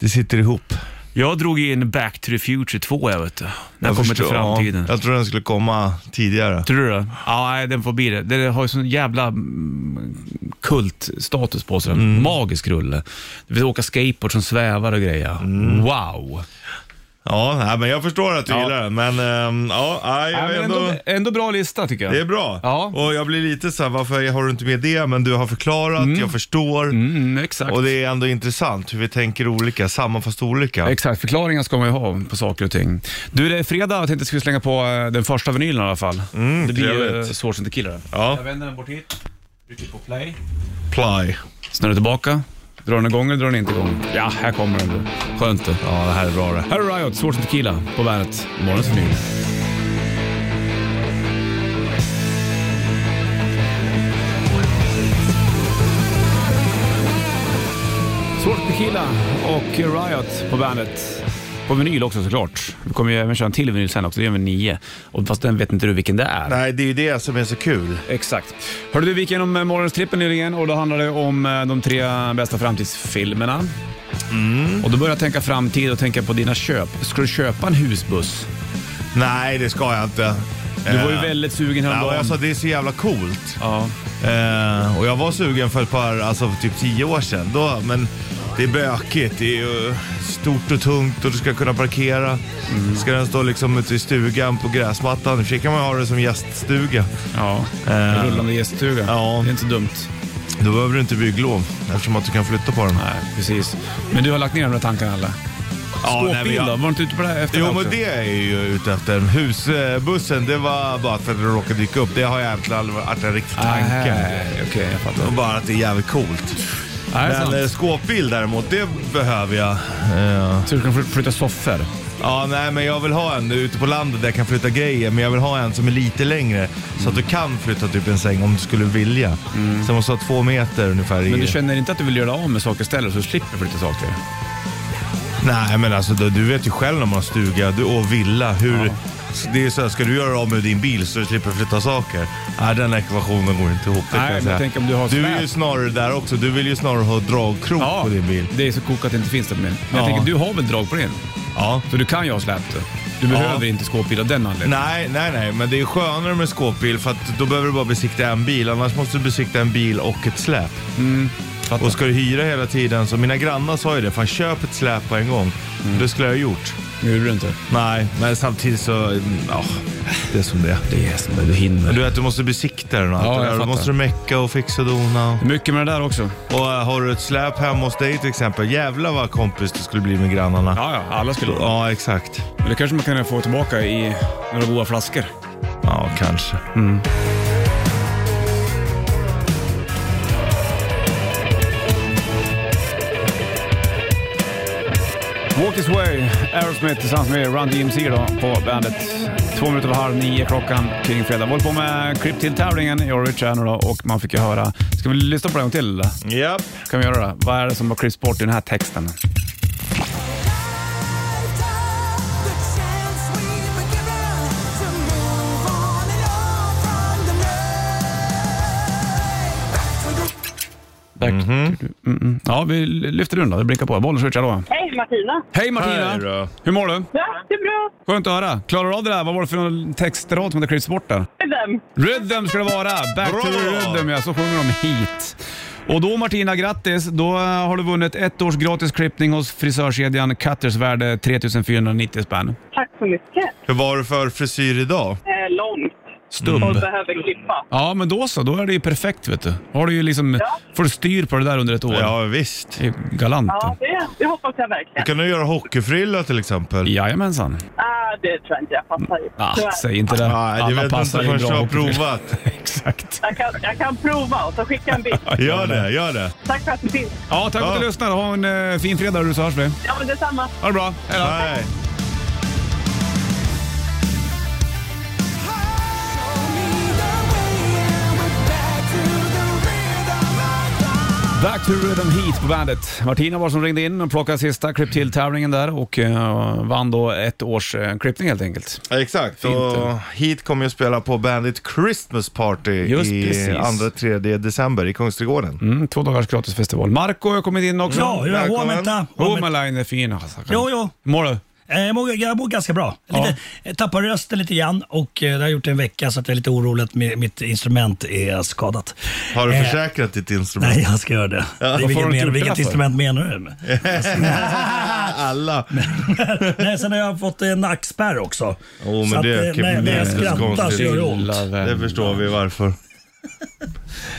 Speaker 3: det sitter ihop.
Speaker 2: Jag drog in Back to the Future 2, jag vet du. När jag kommer till
Speaker 3: förstår- ja,
Speaker 2: framtiden.
Speaker 3: jag tror den skulle komma tidigare.
Speaker 2: Tror du det? Ja, nej, den får bli det. Den har ju sån jävla mm, kultstatus på sig. Mm. Magisk rulle. Du vill åka skateboard som svävar och grejer.
Speaker 3: Mm.
Speaker 2: Wow!
Speaker 3: Ja, nej, men jag förstår att du
Speaker 2: Ja.
Speaker 3: gillar den, men ehm, ja, nej, jag är ändå...
Speaker 2: bra lista tycker jag.
Speaker 3: Det är bra.
Speaker 2: Ja.
Speaker 3: Och jag blir lite så här, varför har du inte med det? Men du har förklarat, jag förstår.
Speaker 2: Mm, exakt.
Speaker 3: Och det är ändå intressant hur vi tänker olika, samma fast olika.
Speaker 2: Exakt, förklaringar ska man ju ha på saker och ting. Du, det är fredag. Jag tänkte att jag skulle slänga på eh, den första vinylen i alla fall. det blir ju
Speaker 3: Mm, trevligt.
Speaker 2: eh, svårt som inte killar.
Speaker 3: Ja.
Speaker 2: Jag vänder den bort hit, trycker på play.
Speaker 3: Ply.
Speaker 2: Snurrar tillbaka. Drar den igång eller drar den inte igång? Ja, här kommer den. du. Skönt det.
Speaker 3: Ja, det här är bra det.
Speaker 2: Här är Riot, Svårt som Tequila på bandet. Morgonens vinyl. Svårt som Tequila och Riot på bandet. På vinyl också såklart. Vi kommer ju även köra en till vinyl sen också, det gör vi nio. Och fast den vet inte du vilken det är.
Speaker 3: Nej, det är ju det som är så kul.
Speaker 2: Exakt. Hörde du, vi gick igenom eh, morgonens trippel nyligen och då handlade det om eh, de tre bästa framtidsfilmerna.
Speaker 3: Mm.
Speaker 2: Och då började jag tänka framtid och tänka på dina köp. Ska du köpa en husbuss?
Speaker 3: Nej, det ska jag inte.
Speaker 2: Du var ju väldigt sugen
Speaker 3: Eh. Ja,
Speaker 2: häromdagen.
Speaker 3: jag sa det är så jävla coolt.
Speaker 2: ja.
Speaker 3: Eh, och jag var sugen för ett par, alltså för typ tio år sedan. Då, men det är bökigt. Det är ju stort och tungt och du ska kunna parkera. Ska den stå liksom ute i stugan på gräsmattan? I och för sig kan man ha det som gäststuga.
Speaker 2: ja.
Speaker 3: Eh.
Speaker 2: Rullande gäststuga.
Speaker 3: Ja.
Speaker 2: Det är inte så dumt.
Speaker 3: Då behöver du inte bygglov eftersom att du kan flytta på den.
Speaker 2: Nej, precis. Men du har lagt ner de där tankarna eller?
Speaker 3: Ja, nej, men
Speaker 2: Skåpbil
Speaker 3: jag-
Speaker 2: då? Var du inte ute på det här efter
Speaker 3: Jo
Speaker 2: här
Speaker 3: men
Speaker 2: också?
Speaker 3: det är jag ju ute efter. Husbussen, det var bara för att den råkade dyka upp. Det har jag egentligen aldrig varit en riktig tanke.
Speaker 2: Nej, okej jag fattar.
Speaker 3: Och Bara att det är jävligt coolt.
Speaker 2: Nej, det är
Speaker 3: Men eh,
Speaker 2: sant.
Speaker 3: skåpbil däremot, det behöver jag. Eh,
Speaker 2: Så du kan fly- flytta soffor?
Speaker 3: Ja, nej men jag vill ha en ute på landet där jag kan flytta grejer. Men jag vill ha en som är lite längre. Så att du kan flytta typ en säng om du skulle vilja. Sen måste du ha två meter ungefär.
Speaker 2: Mm. Men
Speaker 3: i...
Speaker 2: du känner inte att du vill göra av med saker istället så du slipper flytta saker?
Speaker 3: Nej men alltså du, du vet ju själv när man har stuga du, och villa. Hur, Det är så här, ska du göra av med din bil så du slipper flytta saker? Nej, den ekvationen går inte ihop. det kan
Speaker 2: Nej, men
Speaker 3: säga.
Speaker 2: tänk om du har
Speaker 3: Du är
Speaker 2: släp.
Speaker 3: ju snarare där också. Du vill ju snarare ha dragkrok på din bil.
Speaker 2: det är så kokat att det inte finns det på min. Men jag
Speaker 3: Ja.
Speaker 2: tänker, du har väl drag på din?
Speaker 3: Ja.
Speaker 2: Så du kan ju ha släp du. Du behöver inte skåpbil av den anledningen.
Speaker 3: Nej, nej, nej, men det är skönare med skåpbil för att då behöver du bara besikta en bil. Annars måste du besikta en bil och ett släp.
Speaker 2: Mm, fattar.
Speaker 3: och ska du hyra hela tiden, så mina grannar sa ju det, fan köp ett släp på en gång.
Speaker 2: Mm.
Speaker 3: Det skulle jag ha gjort.
Speaker 2: Nu gjorde du inte.
Speaker 3: Nej, men samtidigt så, mm, ja, det är som det är.
Speaker 2: Det är som du hinner.
Speaker 3: Men Du vet, du måste besikta den och allt
Speaker 2: Ja,
Speaker 3: det
Speaker 2: jag
Speaker 3: där. Då
Speaker 2: fattar.
Speaker 3: måste du mecka och fixa och dona.
Speaker 2: Mycket med det där också.
Speaker 3: Och äh, har du ett släp hemma hos dig till exempel, jävlar vad kompis du skulle bli med grannarna.
Speaker 2: Ja, ja. Alla skulle
Speaker 3: Ja, exakt.
Speaker 2: Men det kanske man kan få tillbaka i några goda flaskor.
Speaker 3: Ja, Ja, kanske. Mm.
Speaker 2: Walk this way, Aerosmith tillsammans med Run DMC då på bandet. Två minuter över halv nio klockan kring fredag. Vi håller på med Clip till tävlingen i Orange Channel då, och man fick ju höra... Ska vi lyssna på det en gång till? eller?
Speaker 3: Japp.
Speaker 2: Kan vi göra det? Vad är det som var klipps bort i den här texten? Tack.
Speaker 3: Mhm.
Speaker 2: Mm-mm. Ja, vi lyfter undan. Det blinkar på. Bollen switchar då.
Speaker 9: Hej, Martina.
Speaker 2: Hej Martina!
Speaker 3: Hej då.
Speaker 2: Hur mår du?
Speaker 9: Ja, det är bra.
Speaker 2: Skönt att höra. Klarar du av det där? Vad var det för någon textrad som hade klippts bort där?
Speaker 9: Med dem.
Speaker 2: Rhythm ska det vara! Back
Speaker 3: Bra!
Speaker 2: to rhythm ja, så sjunger de hit. Och då Martina, grattis! Då eh, har du vunnit ett års gratis klippning hos frisörkedjan Cutters värde 3490 spänn.
Speaker 9: Tack så mycket.
Speaker 3: Hur var det för frisyr idag?
Speaker 9: Eh, långt
Speaker 2: Stubb.
Speaker 9: och behöver klippa.
Speaker 2: Ja, men då så. Då är det ju perfekt vet du. Då har du ju liksom, får du styr på det där under ett år.
Speaker 3: Ja, visst.
Speaker 2: Det är galant.
Speaker 9: Ja, det, det hoppas jag
Speaker 3: Då
Speaker 9: verkligen.
Speaker 3: kan du göra hockeyfrilla till exempel.
Speaker 2: Jajamensan.
Speaker 9: Ah, det tror jag inte jag passar i.
Speaker 2: Ah,
Speaker 9: Tyvärr.
Speaker 2: säg inte det.
Speaker 3: Nej, det
Speaker 2: Alla
Speaker 3: vet man inte
Speaker 2: passar ju
Speaker 3: förrän
Speaker 2: bra
Speaker 3: jag har
Speaker 2: hockeyfrilla.
Speaker 3: provat.
Speaker 2: Exakt.
Speaker 9: jag, kan, jag kan prova och så skicka en bild.
Speaker 3: Gör det, gör det.
Speaker 9: Tack för att du finns.
Speaker 2: Ja, tack för att du
Speaker 3: Ja.
Speaker 2: lyssnade. Ha en eh, fin fredag du så hörs vi.
Speaker 9: Ja, men detsamma.
Speaker 2: Ha det bra. Hej då.
Speaker 3: Nej.
Speaker 2: Back to Rhythm Heat på bandet. Martina var som ringde in och plockade sista klipp till tävlingen där och eh, vann då ett års eh, klippning helt enkelt.
Speaker 3: Exakt, och hit kommer jag att spela på Bandit Christmas Party
Speaker 2: Just
Speaker 3: i
Speaker 2: precis.
Speaker 3: 2-3 december i Kungsträdgården.
Speaker 2: Mm, två dagars gratisfestival. Marco har kommit in också.
Speaker 10: Ja, jag
Speaker 3: Välkommen.
Speaker 10: har vänta.
Speaker 2: Homeline är fin alltså.
Speaker 10: Jo, jo.
Speaker 2: Mår du?
Speaker 10: Eh, Jag mår, jag mår ganska bra. Lite, jag tappar rösten lite grann och eh, det har jag gjort i en vecka så att jag är lite orolig att mi- mitt instrument är skadat.
Speaker 3: Har du
Speaker 10: Eh,
Speaker 3: försäkrat ditt instrument?
Speaker 10: Nej, jag ska göra det. det är
Speaker 3: Varför
Speaker 2: har
Speaker 10: vilket
Speaker 2: du
Speaker 10: men,
Speaker 2: inte gjort det
Speaker 10: vilket
Speaker 2: för?
Speaker 10: instrument menar du? med?
Speaker 3: Alla.
Speaker 10: nej, sen har jag fått en nackspärr också.
Speaker 3: Jo, men
Speaker 10: så
Speaker 3: det
Speaker 10: att,
Speaker 3: är
Speaker 10: eh, när, när jag
Speaker 3: kriminellt
Speaker 10: skrattar så
Speaker 3: konstigt.
Speaker 10: gör det ont.
Speaker 2: Lilla vän.
Speaker 3: Det förstår vi varför.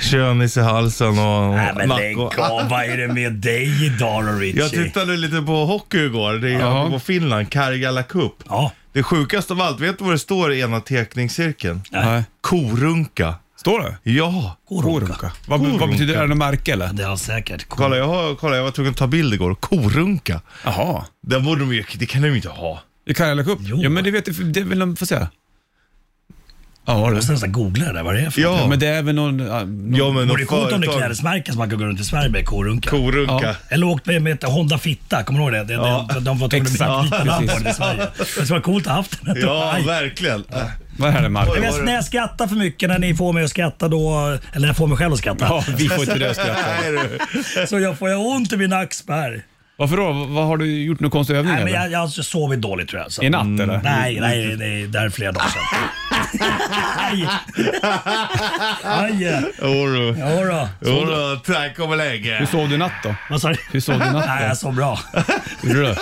Speaker 3: Könis i halsen och och
Speaker 10: Nej, men lägg
Speaker 3: nacke. och-
Speaker 10: av. Vad är det med dig idag då, Richie?
Speaker 3: Jag tittade lite på hockey igår. Det
Speaker 2: Jaha.
Speaker 3: är på Finland, Karjala Cup.
Speaker 10: Ja.
Speaker 3: Det sjukaste av allt, vet du vad det står i ena teckningscirkeln?
Speaker 2: Nej.
Speaker 3: Korunka.
Speaker 2: Står det?
Speaker 3: Ja.
Speaker 10: Korunka.
Speaker 2: Vad, vad betyder det? Är det något märke eller?
Speaker 10: Det har säkert. Kor-
Speaker 3: Kolla jag, har, kolla, jag var tvungen att ta bild igår. Korunka.
Speaker 2: Jaha.
Speaker 3: Den borde de ju, det kan de ju inte ha.
Speaker 2: I Karjala Cup?
Speaker 10: Jo.
Speaker 2: Ja, men det vet jag. Det är väl någon, får säga. Ja, vad har
Speaker 10: Jag
Speaker 2: du?
Speaker 10: måste nästan googla det där, vad det är för
Speaker 3: Ja,
Speaker 2: Ja, men det är väl någon... ja, någon
Speaker 3: ja men
Speaker 10: Det vore
Speaker 3: något
Speaker 10: coolt om det är
Speaker 3: företag.
Speaker 10: klädesmärken som man kan gå runt i Sverige med, korunka.
Speaker 3: Korunka.
Speaker 2: Ja.
Speaker 10: Eller åkt med, med ett Honda Fitta, kommer du ihåg det? det ja, de, de var tvungna att
Speaker 2: exakt.
Speaker 10: byta namn på
Speaker 2: Precis.
Speaker 10: den i Sverige. Det skulle vara coolt att ha haft den.
Speaker 3: Ja,
Speaker 10: Nej.
Speaker 3: verkligen. Äh,
Speaker 2: vad är det Marco?
Speaker 10: Men jag- när jag skrattar för mycket, när ni får mig att skratta då, eller när jag får mig själv att skratta,
Speaker 2: Ja, vi får inte det att skratta.
Speaker 3: Nej du.
Speaker 10: så jag får jag ont i min nackspärr.
Speaker 2: Varför då? Vad har du gjort? Någon konstig övning
Speaker 10: Nej, men
Speaker 2: eller?
Speaker 10: jag, jag har alltså sovit dåligt tror jag. Så.
Speaker 2: I natt eller?
Speaker 10: Nej, nej, nej, det här är flera dagar sedan. Aj! Aj!
Speaker 3: Jodå.
Speaker 10: Jodå.
Speaker 3: Jodå, tack om länge.
Speaker 2: Hur sov du i natt då?
Speaker 10: Vad sa du?
Speaker 2: Hur sov du i natt
Speaker 10: Nej,
Speaker 2: då?
Speaker 10: jag sov bra.
Speaker 2: Gjorde du?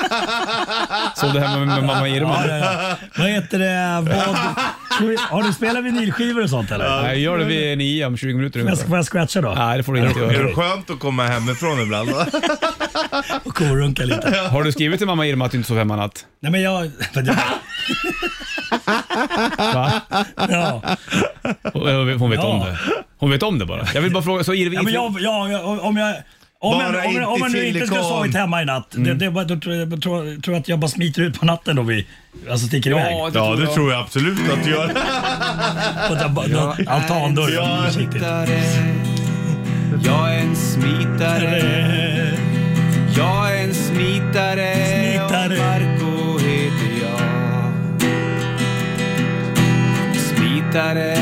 Speaker 2: Sov du hemma med, med mamma Irma?
Speaker 10: Ja, ja, ja. Vad heter det? Vad... Ska vi- Har du spelat vinylskivor och sånt eller?
Speaker 2: Nej, gör det vid nio om 20 minuter
Speaker 10: Men jag ska-
Speaker 2: ungefär.
Speaker 10: Får jag scratcha då?
Speaker 2: Nej, det får du inte
Speaker 3: Är det
Speaker 2: göra.
Speaker 3: skönt att komma hemifrån ibland?
Speaker 10: Och korunka lite.
Speaker 2: Har du skrivit till mamma Irma att du inte sov hemma i natt?
Speaker 10: Nej men jag... men jag-
Speaker 2: Va?
Speaker 10: Ja.
Speaker 2: Hon hon vet
Speaker 10: Ja.
Speaker 2: om det. Hon vet om det bara. Jag vill bara fråga, så Irma...
Speaker 10: ja men jag, jag, jag, om jag... Om jag,
Speaker 3: Bara
Speaker 10: om, jag, om jag
Speaker 3: inte Mm.
Speaker 10: nu inte skulle
Speaker 3: silikon.
Speaker 10: ha sovit hemma i natt, det, det, var- då tror jag, jag tror, tror jag att jag bara smiter ut på natten då vi alltså sticker iväg.
Speaker 2: Ja,
Speaker 3: Ja, det tror jag absolut att du gör.
Speaker 10: På att jag bara- då- Altandörren. försiktigt.
Speaker 2: Jag är en smitare. Jag är en smitare.
Speaker 10: Smitare. och
Speaker 2: Marco heter jag. Smitare.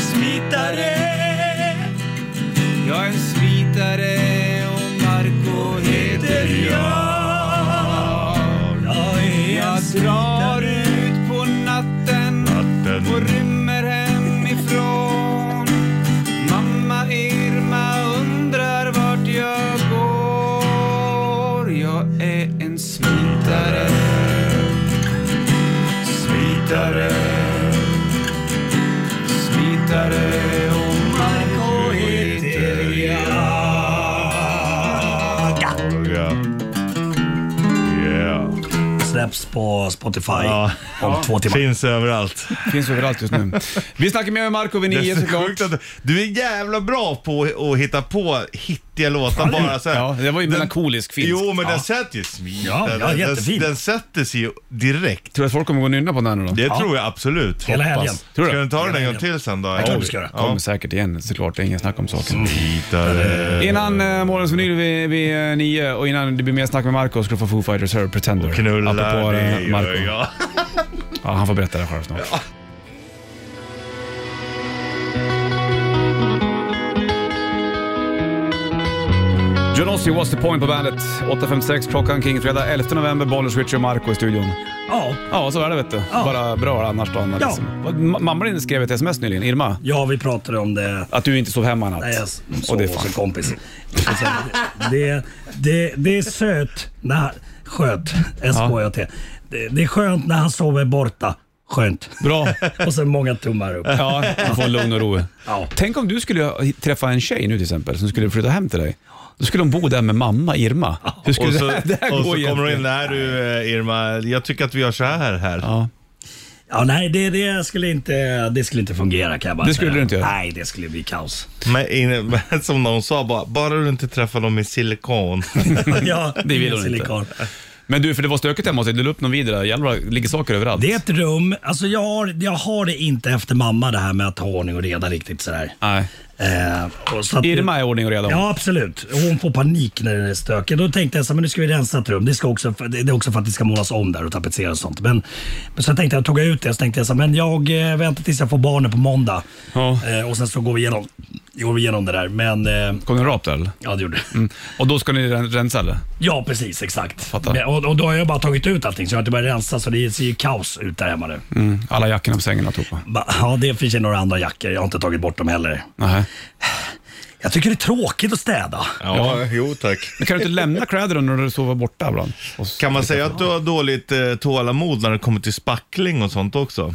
Speaker 2: Smitare. Jag är en smitare och Marco heter jag.
Speaker 10: Jag är en
Speaker 2: Jag drar ut på natten och rymmer hemifrån. Mamma Irma undrar vart jag går. Jag är en smitare. Smitare. Smitare och Marco heter jag.
Speaker 3: Yeah. Yeah.
Speaker 10: släpps på Spotify om två timmar.
Speaker 3: Finns överallt.
Speaker 2: Finns överallt just nu. Vi snackar med Marco
Speaker 3: Det
Speaker 2: Venille
Speaker 3: är så
Speaker 2: såklart.
Speaker 3: sjukt att du är jävla bra på att hitta på hittiga låtar bara så här.
Speaker 2: Ja, det var ju melankolisk finsk.
Speaker 3: Jo, men
Speaker 2: Ja.
Speaker 3: den sätter ju smidigt.
Speaker 10: Ja, ja,
Speaker 3: den, den,
Speaker 10: jättefin.
Speaker 3: den sätter sig ju direkt.
Speaker 2: Tror du att folk kommer gå och nynna på den här nu då?
Speaker 3: Det tror jag absolut.
Speaker 10: Hela
Speaker 3: Hoppas.
Speaker 10: helgen.
Speaker 2: Tror du?
Speaker 3: Ska du ta den en gång
Speaker 10: helgen.
Speaker 3: till sen då?
Speaker 10: Jag tror vi ska göra.
Speaker 2: kommer säkert igen såklart, det är ingen snack om saken.
Speaker 3: Tittare.
Speaker 2: Innan eh, morgonens vinyl vid, vid eh, nio och innan det blir mer snack med Marco ska du få Foo Fighters här, Pretender.
Speaker 3: Knullar
Speaker 2: Apropå eh,
Speaker 3: dig
Speaker 2: Marco.
Speaker 3: och jag.
Speaker 2: Ja, han får berätta det själv snart. Johnossi, What's the point på bandet? 8.56 klockan kring fredag 11 november, Bollers, Richard och Marco i studion.
Speaker 10: Ja.
Speaker 2: Ja, så är det vet du.
Speaker 10: Ja.
Speaker 2: Bara bra annars då. Anna,
Speaker 10: Ja.
Speaker 2: liksom. Ma- Mamma din skrev ett sms nyligen, Irma,
Speaker 10: ja, vi pratade om det.
Speaker 2: att du inte sov hemma i natt.
Speaker 10: Nej, jag
Speaker 2: och
Speaker 10: sov
Speaker 2: det är
Speaker 10: hos en
Speaker 2: fan.
Speaker 10: kompis. Det, det, det är söt. När, skönt. S-K-Ö-T. Det, det är skönt när han sover borta. Skönt.
Speaker 2: Bra.
Speaker 10: Och sen många tummar upp.
Speaker 2: Ja, du får lugn och ro.
Speaker 10: Ja.
Speaker 2: Tänk om du skulle träffa en tjej nu till exempel som skulle flytta hem till dig. Då skulle hon bo där med mamma Irma. Hur skulle
Speaker 3: Och så,
Speaker 2: det här, det här
Speaker 3: och
Speaker 2: gå
Speaker 3: så kommer hon
Speaker 2: egentligen?
Speaker 3: in där du eh, Irma, jag tycker att vi gör så här här.
Speaker 2: Ja.
Speaker 10: Ja, nej, det, det, skulle inte, det skulle inte fungera kan jag bara
Speaker 2: Det skulle
Speaker 10: säga.
Speaker 2: du inte göra?
Speaker 10: Nej, det skulle bli kaos.
Speaker 3: Men, in, men som någon sa, bara, bara du inte träffar dem i silikon.
Speaker 10: ja,
Speaker 2: Det vill hon
Speaker 10: silikon.
Speaker 2: Men du, för det var stökigt hemma hos dig. Du la upp någon video där. Jävlar, det ligger saker överallt.
Speaker 10: Det är ett rum. Alltså jag har, jag har det inte efter mamma det här med att ha ordning och reda riktigt sådär.
Speaker 2: Nej.
Speaker 10: Eh, och så att-
Speaker 2: Irma är ordning och reda.
Speaker 10: Ja, absolut. Hon får panik när det är stökigt. Då tänkte jag så här, men nu ska vi rensa ett rum. Det, ska också, det är också för att det ska målas om där och tapetseras och sånt. Men, men så tänkte jag, tog jag ut det så tänkte jag så här, men jag eh, väntar tills jag får barnen på måndag.
Speaker 2: Ja.
Speaker 10: Eh, och sen så går vi igenom, går vi igenom det där. Men, eh,
Speaker 2: Kom det en rap där eller? Mm.
Speaker 10: ja det gjorde det.
Speaker 2: Och då ska ni ren- rensa eller?
Speaker 10: Ja, precis. Exakt.
Speaker 2: Fattar.
Speaker 10: Men, och, och då har jag bara tagit ut allting så jag har inte börjat rensa så det ser ju kaos ut där hemma nu.
Speaker 2: Mm. Alla jackorna på sängen och alltihopa.
Speaker 10: Ba- Ja, det finns ju några andra jackor. Jag har inte tagit bort dem heller.
Speaker 2: Nähä.
Speaker 10: Jag tycker det är tråkigt att städa.
Speaker 3: ja, jo tack.
Speaker 2: Men kan du inte lämna kläderna när du sover borta ibland? Och-
Speaker 3: Kan man säga att du har dåligt eh, tålamod när det kommer till spackling och sånt också?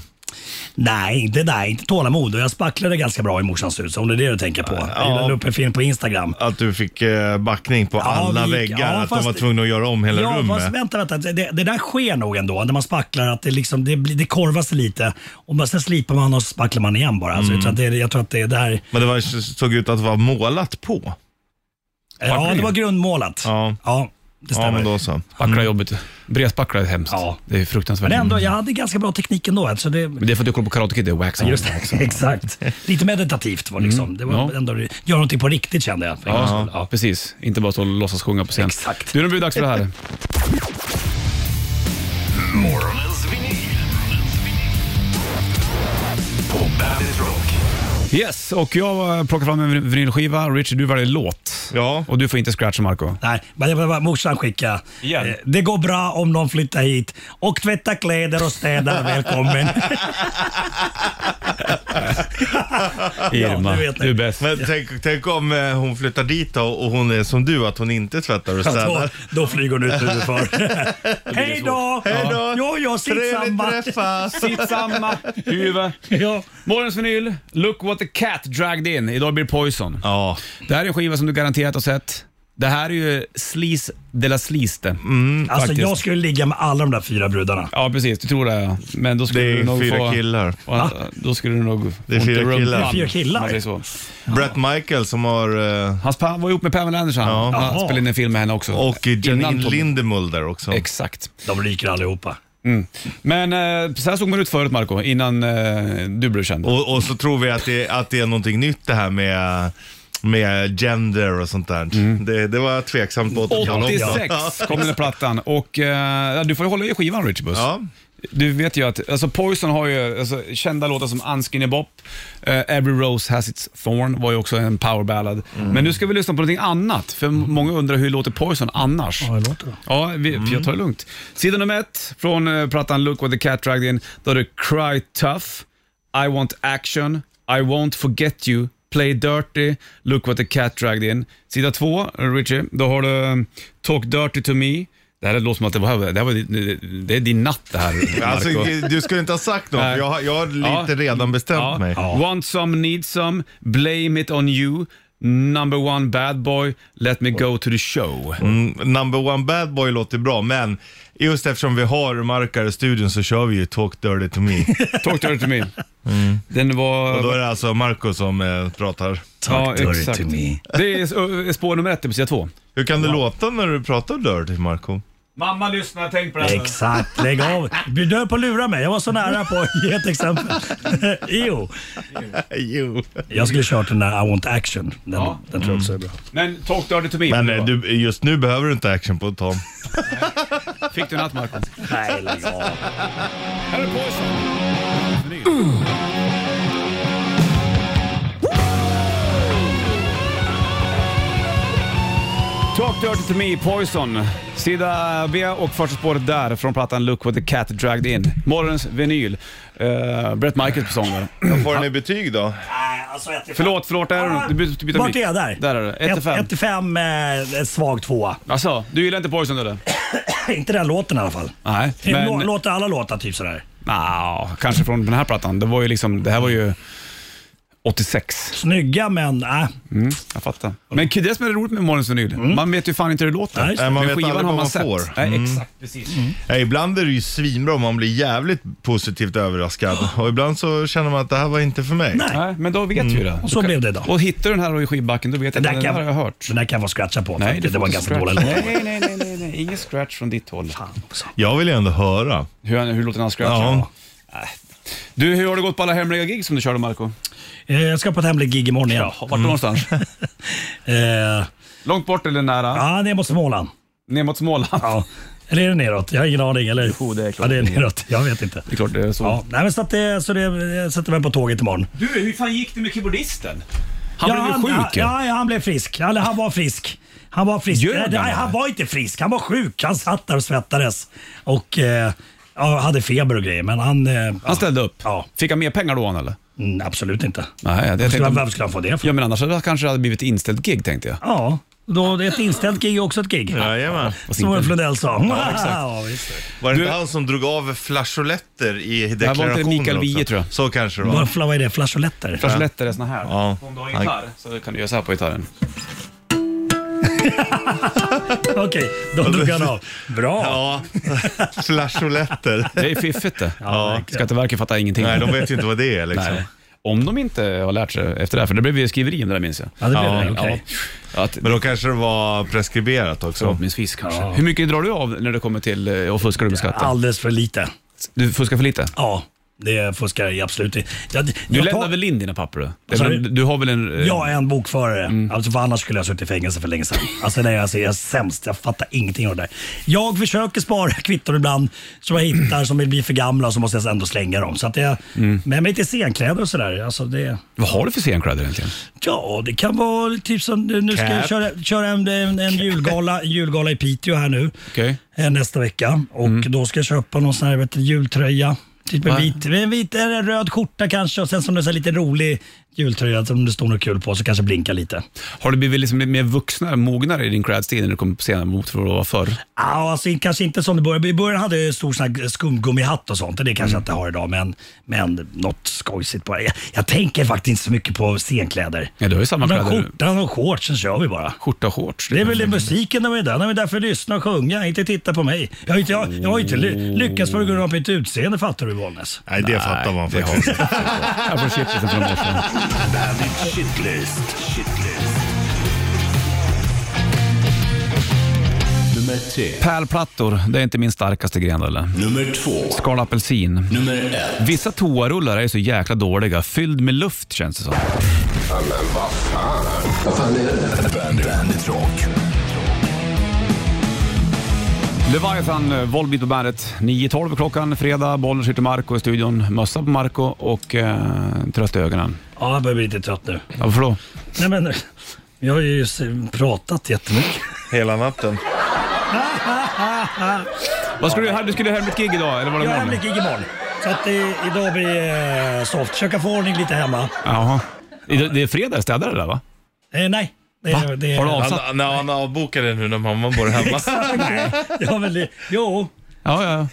Speaker 10: Nej, inte, nej, inte tålamod. Och jag spacklade ganska bra i morsans hus om det är det du tänker på. Jag la upp en film på Instagram.
Speaker 3: Att du fick eh, backning på alla
Speaker 10: vi gick-
Speaker 3: väggar,
Speaker 10: ja,
Speaker 3: att de
Speaker 10: fast-
Speaker 3: var tvungna att göra om hela
Speaker 10: ja,
Speaker 3: rummet.
Speaker 10: Fast, vänta, vänta. Det, det där sker nog ändå när man spacklar att det, liksom, det, blir- det korvas lite och bara, sen slipar man och så spacklar man igen bara. Alltså, jag, tror att det,
Speaker 3: Mm.
Speaker 10: är- jag tror att det är där.
Speaker 3: Men det var, såg ut att vara målat på.
Speaker 10: Ja, det var grundmålat.
Speaker 3: Ja.
Speaker 10: det
Speaker 3: Ja,
Speaker 10: stämmer.
Speaker 3: men
Speaker 10: men,
Speaker 3: då så.
Speaker 2: Spackla är jobbigt. Bredspackla är hemskt.
Speaker 10: Mm. Ja.
Speaker 2: Det är fruktansvärt.
Speaker 10: ändå, jag hade ganska bra teknik ändå. Alltså det,
Speaker 2: Men det är för att du kollar på Karate Kid, det är wax on.
Speaker 10: Just det, exakt. Lite meditativt var
Speaker 3: Mm.
Speaker 10: liksom. Det var
Speaker 2: ja.
Speaker 10: ändå, göra någonting på riktigt kände jag. för en gångs skull.
Speaker 2: Ja, precis. Inte bara stå och låtsas sjunga på scen.
Speaker 10: Exakt.
Speaker 2: Du, nu blir det dags för det här.
Speaker 1: Morgonens vinyl. På Bandit Rock.
Speaker 2: Yes, och jag eh, plockar fram en vinylskiva. Richard, du väljer låt.
Speaker 3: Ja.
Speaker 2: Och du får inte scratcha, Marco.
Speaker 10: Nej, men det var morsan skickade.
Speaker 2: Igen.
Speaker 10: Eh, Det går bra om någon flyttar hit och tvättar kläder och städar. Välkommen.
Speaker 2: Irma,
Speaker 10: du vet det.
Speaker 2: du är bäst.
Speaker 3: Men tänk, tänk om eh, hon flyttar dit då och hon är som du, att hon inte tvättar och
Speaker 10: då,
Speaker 3: städar.
Speaker 10: då flyger hon ut huvudfar. Hej då!
Speaker 3: Hej då!
Speaker 10: Ja. Jo, jo, sitt samma.
Speaker 3: Trevligt träffas!
Speaker 2: Sitt samma huvud.
Speaker 10: Ja.
Speaker 2: Morgons vinyl, Look what the cat dragged in. Idag blir det Poison.
Speaker 3: Ja,
Speaker 2: Det här är en skiva som du garanterat har sett. Det här är ju Sleaze de la Sleaze det.
Speaker 10: Alltså
Speaker 2: Faktiskt.
Speaker 10: jag skulle ligga med alla de där fyra brudarna.
Speaker 2: Ja, precis. Du tror det, ja. Men då skulle
Speaker 3: det
Speaker 2: du nog
Speaker 3: är
Speaker 2: få...
Speaker 3: fyra killar.
Speaker 2: Ja, Då skulle du nog...
Speaker 3: Det är
Speaker 2: ont i
Speaker 3: fyra
Speaker 2: rumpan,
Speaker 3: killar.
Speaker 10: Det är fyra killar.
Speaker 2: om man säger så.
Speaker 3: Brett Michael som har... eh,
Speaker 2: Hans pappa var ihop med Pamela Anderson.
Speaker 3: Ja.
Speaker 2: Han
Speaker 10: Jaha.
Speaker 2: spelade in en film med henne också.
Speaker 3: Och eh,
Speaker 2: Innan
Speaker 3: Janine
Speaker 2: Tommy.
Speaker 3: Lindemull där också.
Speaker 2: Exakt. Mm.
Speaker 10: De ryker allihopa.
Speaker 2: Men eh, så här såg man ut förut Marco innan eh, du blev känd.
Speaker 3: Och, och så tror vi att det, att det är någonting nytt det här med, med gender och sånt där. Det, det var tveksamt på 80-talet. också.
Speaker 2: 86 kom den här plattan och eh, ja, du får ju hålla i skivan Richie Puss.
Speaker 3: Ja.
Speaker 2: Du vet ju att alltså Poison har ju alltså, kända låtar som Unskinny Bop, eh, Every Rose Has Its Thorn var ju också en power ballad. Men nu ska vi lyssna på någonting annat, för många undrar hur låter Poison annars?
Speaker 10: Ja, hur låter det?
Speaker 2: Ja, vi,
Speaker 3: Mm.
Speaker 2: jag tar det lugnt. Sida nummer ett från eh, plattan Look What The Cat Dragged In, då är det Cry Tough, I Want Action, I Won't Forget You, Play Dirty, Look What The Cat Dragged In. Sida två, Richie, då har du eh, Talk Dirty To Me, det här låter som att det, var, det, här var, din- det är din natt det här. Marco.
Speaker 3: Alltså, du skulle inte ha sagt något, för jag, har- jag har lite
Speaker 2: Ja.
Speaker 3: redan bestämt
Speaker 2: Ja.
Speaker 3: mig.
Speaker 2: Want some, need some, blame it on you, Number one bad boy, let me go to the show.
Speaker 3: Mm, number one bad boy låter bra, men just eftersom vi har Markar i studion så kör vi ju Talk Dirty To Me.
Speaker 2: Talk Dirty To Me. Den var...
Speaker 3: Mm. Och då är det alltså Marco som eh, pratar.
Speaker 2: Det är s- spår nummer ett på sida två.
Speaker 3: Hur kan det låta när du pratar dirty, Marco?
Speaker 2: Mamma lyssnar, tänk på det här.
Speaker 10: Exakt, lägg av. Du höll på att lura mig. Jag var så nära på att ge ett exempel. jo.
Speaker 3: jo.
Speaker 10: Jag skulle kört den där I want action. Den,
Speaker 2: Ja. Mm.
Speaker 10: den tror jag också är bra.
Speaker 2: Men Talk Dirty To Me.
Speaker 3: Men
Speaker 2: det
Speaker 3: eh,
Speaker 2: var-
Speaker 3: du, just nu behöver du inte action på Tom.
Speaker 2: Fick du natt, Marcus?
Speaker 10: Nej, lägg av.
Speaker 2: Här är Poison. Talk Dirty To Me, Poison. Sida B och första spåret där från plattan Look What The Cat Dragged In. Morgonens vinyl. Eh, Brett Michaels på sång där.
Speaker 3: Vad får den i betyg då?
Speaker 10: Nej, alltså ett till fem.
Speaker 2: Förlåt, förlåt. Där är du. Du byter- du byter
Speaker 10: Vart
Speaker 2: mick.
Speaker 10: är jag där?
Speaker 2: Där är du. Ett till fem.
Speaker 10: 1 till 5, eh, svag tvåa.
Speaker 2: Alltså, du gillar inte Poison eller?
Speaker 10: inte den låten i alla fall.
Speaker 2: Nej,
Speaker 10: Men...
Speaker 2: men...
Speaker 10: Låter alla låtar typ sådär?
Speaker 2: Nja, kanske från den här plattan. Det var ju liksom, det här var ju 86.
Speaker 10: Snygga men eh, nej.
Speaker 2: Mm, jag fattar. Men det är det som är roligt med Morgonens vinyl. Man vet ju fan inte hur det låter.
Speaker 10: Nej, just det.
Speaker 3: Nej, man
Speaker 2: Men
Speaker 3: vet aldrig vad man får.
Speaker 2: Nej,
Speaker 3: Mm.
Speaker 2: exakt. Precis.
Speaker 3: Ja, ibland är det ju svinbra om man blir jävligt positivt överraskad. Och ibland så känner man att det här var inte för mig.
Speaker 10: Nej.
Speaker 2: Nej, men då vet vi ju det.
Speaker 10: Och så blev det idag.
Speaker 2: Och hittar du den här då i skivbacken, då vet jag att den där har jag hört.
Speaker 10: Den där kan vara scratcha på. Nej, det,
Speaker 2: får
Speaker 10: var
Speaker 2: inte
Speaker 10: ganska
Speaker 2: scratch.
Speaker 10: dålig låt.
Speaker 2: Nej, nej, nej, nej, nej. Ingen scratch från ditt håll.
Speaker 3: Jag vill ju ändå höra.
Speaker 2: Hur, han- hur låter den här scratchen?
Speaker 3: Ja.
Speaker 2: Nej. Du, hur har det gått på alla hemliga gig som du körde, Marco?
Speaker 10: Eh, Jag ska på ett hemligt gig imorgon igen.
Speaker 2: Vart någonstans?
Speaker 10: Eh,
Speaker 2: Långt bort eller nära?
Speaker 10: Ja, ner mot Småland.
Speaker 2: Ner mot Småland?
Speaker 10: Ja. Eller är det neråt? Jag har ingen aning. Eller?
Speaker 2: Jo, det är klart.
Speaker 10: Ja, det är neråt. Jag vet inte.
Speaker 2: Det är klart det är så.
Speaker 10: Ja, nej, men så att det, så det, jag sätter mig på tåget imorgon.
Speaker 2: Du, hur fan gick det med keyboardisten? Han
Speaker 10: ja,
Speaker 2: blev ju sjuk. ju.
Speaker 10: Ja, ja, han blev frisk. Eller han var frisk. Han var frisk.
Speaker 2: Ljög
Speaker 10: Nej,
Speaker 2: han,
Speaker 10: nej,
Speaker 2: eller?
Speaker 10: han var inte frisk. Han var sjuk. Han satt där och svettades och eh, ja, hade feber och grejer. Men han... Eh,
Speaker 2: Han ställde upp.
Speaker 10: Ja.
Speaker 2: Fick han mer pengar då han eller?
Speaker 10: mm, absolut inte.
Speaker 2: Nej, jag
Speaker 10: Skulle han,
Speaker 2: tänkte...
Speaker 10: varför skulle han få det för?
Speaker 2: Ja men annars hade det kanske hade blivit inställt gig tänkte jag.
Speaker 10: Ja, då, det är ett inställt gig är också ett gig.
Speaker 3: Jajamän.
Speaker 10: Som Ulf Lundell sa. Ja,
Speaker 2: exakt.
Speaker 10: visst.
Speaker 3: Var det
Speaker 2: Du-
Speaker 3: inte han som drog av flageoletter i
Speaker 2: var
Speaker 3: deklarationen
Speaker 2: inte Mikael
Speaker 3: också?
Speaker 2: Wiehe, tror jag.
Speaker 3: Så kanske det var.
Speaker 10: Vad vad är det? Flageoletter?
Speaker 2: Kanske lättare såna här.
Speaker 3: Ja.
Speaker 2: Om du har gitarr så kan du göra så här på gitarren.
Speaker 10: Okej, då drog han av. Bra.
Speaker 3: Ja, flageoletter.
Speaker 2: Det är fiffigt det.
Speaker 10: Ja,
Speaker 2: Skatteverket fattar ingenting.
Speaker 3: Nej, de vet ju inte vad det är liksom.
Speaker 2: Nej. Om de inte har lärt sig efter det här, för det blev ju skriveri om det där minns jag.
Speaker 10: Ja, det blev
Speaker 3: Ja,
Speaker 10: det. Okej.
Speaker 2: Ja. Att,
Speaker 3: Men då kanske det var preskriberat också.
Speaker 2: förhoppningsvis kanske. Hur mycket drar du av när det kommer till eh, och fuskar du med skatten?
Speaker 10: Alldeles för lite.
Speaker 2: Du fuskar för lite?
Speaker 10: Ja, det fuskar jag absolut inte. Jag,
Speaker 2: Du
Speaker 10: jag
Speaker 2: lämnar
Speaker 10: tar-
Speaker 2: väl in dina papper? då? Det är
Speaker 10: sa
Speaker 2: väl-
Speaker 10: du?
Speaker 2: Du har väl en... eh, Mm.
Speaker 10: Jag är en bokförare, alltså, för annars skulle jag ha suttit i fängelse för länge sedan. Alltså, nej, alltså, jag är sämst, jag fattar ingenting av det där. Jag försöker spara kvitton ibland som jag hittar som blir för gamla och så måste jag ändå slänga dem. Så att jag,
Speaker 2: Mm.
Speaker 10: Men med lite scenkläder och sådär. Alltså, det,
Speaker 2: Vad har du för scenkläder egentligen?
Speaker 10: ja, det kan vara typ som nu ska jag
Speaker 3: Cap.
Speaker 10: köra, köra en, en, en julgala, en julgala i Piteå här nu
Speaker 2: Okej. Mm.
Speaker 10: eh, nästa vecka och då ska jag köpa någon sån här vet, du, jultröja. Typ en
Speaker 2: Va?
Speaker 10: vit, en vit eller en röd skjorta kanske och sen som det är så här lite rolig jultröja som det står något kul på så kanske blinkar lite.
Speaker 2: Har du blivit liksom lite mer vuxnare, mognare i din cradstil när du kom på scenen mot vad du var förr?
Speaker 10: Ja, alltså, kanske inte som det började. I början hade jag ju stor sån här skumgummihatt och sånt. och Det
Speaker 2: Mm.
Speaker 10: kanske jag inte har idag, men, men något skojsigt bara. Jag, jag tänker faktiskt inte så mycket på scenkläder.
Speaker 2: Ja, du har ju samma
Speaker 10: Men
Speaker 2: kläder. Mm.
Speaker 10: skjortan och shortsen kör vi bara.
Speaker 2: Skjorta och shorts.
Speaker 10: Det är väl det musiken de är där. De är där för att lyssna och sjunga, inte titta på mig. Jag har ju inte, jag, jag har ju inte ly- lyckats på grund av mitt utseende, fattar du Bollnäs?
Speaker 3: Nej, det fattar man
Speaker 2: det har
Speaker 3: faktiskt.
Speaker 2: Jag får chipsen från morse.
Speaker 1: Bandit Shitlist. Shitlist. Nummer tre.
Speaker 2: Pärlplattor, det är inte min starkaste gren eller?
Speaker 1: Nummer två.
Speaker 2: Skal apelsin.
Speaker 1: Nummer ett.
Speaker 2: Vissa toarullar är så jäkla dåliga. Fylld med luft känns det som.
Speaker 1: Bandit, Bandit Rock.
Speaker 2: Leviathan, eh, Volbeat på bandet. 9.12 klockan, fredag. Bollen sitter Marco i studion. Mössa på Marco och eh, trött i ögonen.
Speaker 10: Ja, jag börjar bli lite trött nu.
Speaker 2: Ja, Varför då?
Speaker 10: Nej men, jag har ju s- pratat jättemycket.
Speaker 3: Hela natten.
Speaker 2: Vad skulle du, ha- du skulle ha hemligt gig idag, eller var det
Speaker 10: Jag har
Speaker 2: imorgon?
Speaker 10: hemligt gig imorgon. Så att eh, idag blir det eh, soft. Försöka få ordning lite hemma.
Speaker 2: Jaha. Det det är fredag, städar det där va?
Speaker 10: Eh, nej. Det,
Speaker 2: Va?
Speaker 10: det,
Speaker 2: Har du
Speaker 3: Han, när han avbokade nu när mamma bor hemma.
Speaker 10: Ja, men det, jo,
Speaker 2: Ja,
Speaker 10: ja.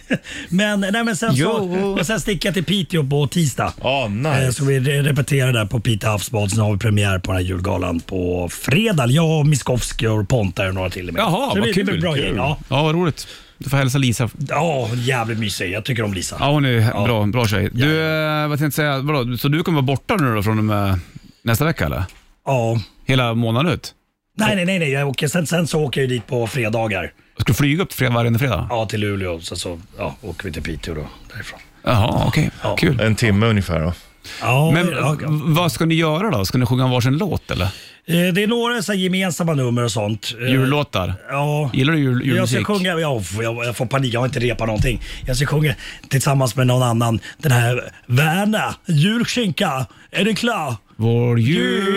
Speaker 10: men, nej, men sen så,
Speaker 2: Jo.
Speaker 10: och sen sticker jag till Piteå på tisdag. Eh,
Speaker 3: Ja, Ah, nice.
Speaker 10: Så vi re- repeterar där på Pite havsbad. Sen har vi premiär på den här julgalan på fredag. Jag, Miskovsky och Ponta och några till. och med.
Speaker 2: Jaha,
Speaker 10: så det
Speaker 2: vad
Speaker 10: blir-
Speaker 2: kul.
Speaker 10: Det blir ett bra
Speaker 2: Kul.
Speaker 10: gäng. Ja.
Speaker 2: Ja, vad roligt. Du får hälsa Lisa.
Speaker 10: Ja, jävligt mysig. Jag tycker om Lisa.
Speaker 2: Ja, hon är bra, bra tjej. Du, eh, vad tänkte jag säga, vadå, så du kommer vara borta nu då från och med nästa vecka eller?
Speaker 10: Ja.
Speaker 2: Hela månaden ut?
Speaker 10: Nej, nej, nej. nej. Jag åker, sen, sen så åker jag ju dit på fredagar.
Speaker 2: Ska du flyga upp fred, varje fredag?
Speaker 10: Ja, till Luleå. Sen så ja, åker vi till Piteå då, därifrån.
Speaker 2: Jaha, okej. Kul.
Speaker 3: En timme ungefär då.
Speaker 10: Ja,
Speaker 2: Men
Speaker 10: ja,
Speaker 2: v- vad ska ni göra då? Ska ni sjunga varsin låt eller?
Speaker 10: Eh, Det är några så här gemensamma nummer och sånt. Eh,
Speaker 2: Jullåtar?
Speaker 10: Ja.
Speaker 2: Gillar du jul,
Speaker 10: Jag ska
Speaker 2: julmusik?
Speaker 10: sjunga, jag, jag, jag får panik, jag har inte repat någonting. Jag ska sjunga tillsammans med någon annan den här Värna, julskinka, är den klar?
Speaker 2: Vår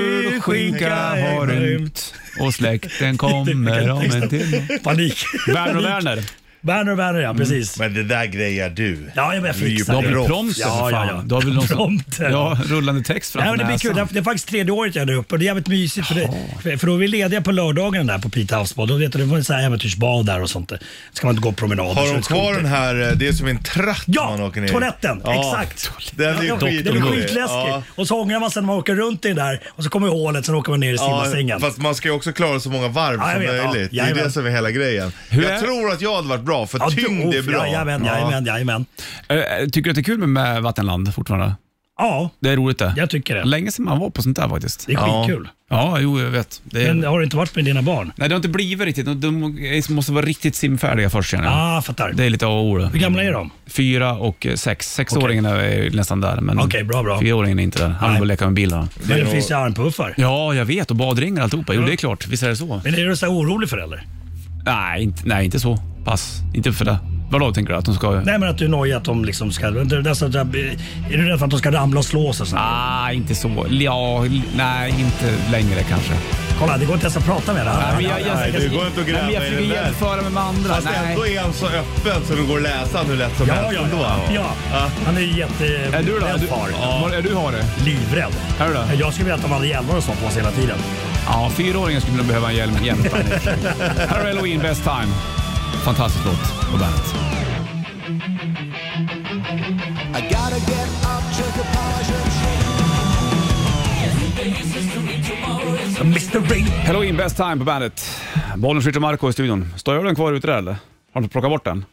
Speaker 2: julskinka har rymt och släkten kommer om en timme.
Speaker 10: Panik.
Speaker 2: Werner och
Speaker 10: Panik.
Speaker 2: Werner.
Speaker 10: Werner och Werner, ja precis.
Speaker 3: Men det där grejar du.
Speaker 10: Ja, jag, jag
Speaker 3: Du är ju
Speaker 10: fixar
Speaker 2: Du har väl
Speaker 3: proffs.
Speaker 2: prompten
Speaker 10: Ja,
Speaker 2: för
Speaker 10: ja,
Speaker 2: fan?
Speaker 10: ja.
Speaker 2: Du har väl någon som-
Speaker 10: Prompten.
Speaker 2: Ja, rullande text
Speaker 10: Ja,
Speaker 2: framför
Speaker 10: men det blir kul. Det är- Det är faktiskt tredje året jag är där uppe och det är jävligt mysigt. För, det, för- för då är vi lediga på lördagen där på Pite havsbad. Då vet du, det var en sån här äventyrsbad där och sånt. där. Ska man inte gå promenader. så
Speaker 3: Har
Speaker 10: det
Speaker 3: de
Speaker 10: är
Speaker 3: kvar
Speaker 10: skoter.
Speaker 3: den här, eh, det är som en tratt
Speaker 10: Ja,
Speaker 3: man åker ner i.
Speaker 10: toaletten.
Speaker 3: Ja,
Speaker 10: Exakt.
Speaker 3: Den är ju
Speaker 10: Ja, den är
Speaker 3: skitjobbig.
Speaker 10: skitläskig.
Speaker 3: Ja.
Speaker 10: Och så ångrar man sig när man åker runt i den där och så kommer hålet, sen åker man ner i
Speaker 3: Ja,
Speaker 10: simbassängen.
Speaker 3: fast man ska ju också klara så många varv
Speaker 10: Ja, jag
Speaker 3: som
Speaker 10: vet, ja.
Speaker 3: möjligt. det är
Speaker 10: Jajamän.
Speaker 3: det som är hela grejen.
Speaker 2: Hur
Speaker 3: jag
Speaker 2: är-
Speaker 3: tror att jag hade varit bra, för
Speaker 10: Ja, du-
Speaker 3: tyngd är
Speaker 10: oh,
Speaker 3: bra.
Speaker 10: Jajamän,
Speaker 3: Ja.
Speaker 10: jajamän, jajamän.
Speaker 2: Eh, Tycker du att det är kul med Vattenland fortfarande?
Speaker 10: Ja,
Speaker 2: Det är roligt det.
Speaker 10: jag tycker det.
Speaker 2: Länge sedan man var på sånt där faktiskt.
Speaker 10: Det är
Speaker 3: Ja.
Speaker 10: skitkul.
Speaker 2: Ja, jo jag vet. Det är...
Speaker 10: Men har du inte varit med dina barn?
Speaker 2: Nej, det har inte blivit riktigt. De- De måste vara riktigt simfärdiga först känner jag.
Speaker 10: Ja, ah, fattar.
Speaker 2: Det är lite A och O det.
Speaker 10: Hur gamla är de?
Speaker 2: Fyra och eh, sex. Sexåringen är ju nästan där, men
Speaker 10: Okej, bra, bra.
Speaker 2: fyraåringen är inte där. Han vill bara leka med bilarna.
Speaker 10: Men det finns ju armpuffar.
Speaker 2: Ja, jag vet. Och badringar och alltihopa. Jo, det är klart. Visst är det så?
Speaker 10: Men är du så här orolig för det eller?
Speaker 2: Nej, inte, nej, inte så. Pass. Inte för det. Vadå tänker du? Att de ska... Nej,
Speaker 10: Nej men att du är nojig att de liksom ska... Är du rädd för att de ska ramla och slå sig? och sånt?
Speaker 2: ah, inte så. Ja, l- nej, inte längre kanske.
Speaker 10: Kolla, det går inte ens att prata med det här.
Speaker 2: men jag- jag-
Speaker 3: Nej, det går inte att gräva
Speaker 2: Nej, men jag
Speaker 3: i den
Speaker 2: försöker
Speaker 3: där.
Speaker 2: jämföra mig med andra.
Speaker 3: Fast
Speaker 2: nej.
Speaker 3: ändå är han så öppen så det går att läsa han hur lätt som
Speaker 10: Ja,
Speaker 3: helst
Speaker 10: ja,
Speaker 3: ändå. Ah.
Speaker 10: ja. ja. Han är ju
Speaker 2: Är du då? Är
Speaker 10: jätterädd
Speaker 2: du,
Speaker 10: far.
Speaker 2: ja. är du har det?
Speaker 10: Livrädd.
Speaker 2: Är du det?
Speaker 10: Jag skulle vilja att de hade hjälmar och sånt på sig hela tiden.
Speaker 2: Ja, fyraåringen skulle nog behöva en hjälm jämt. Henrik. Här är Halloween, Best time. Fantastisk låt på bandet.
Speaker 10: Mr Ring.
Speaker 2: Halloween, Best time på bandet. Bollen skjuter Marco i studion. Står ölen kvar ute där eller? Har du plockat bort den?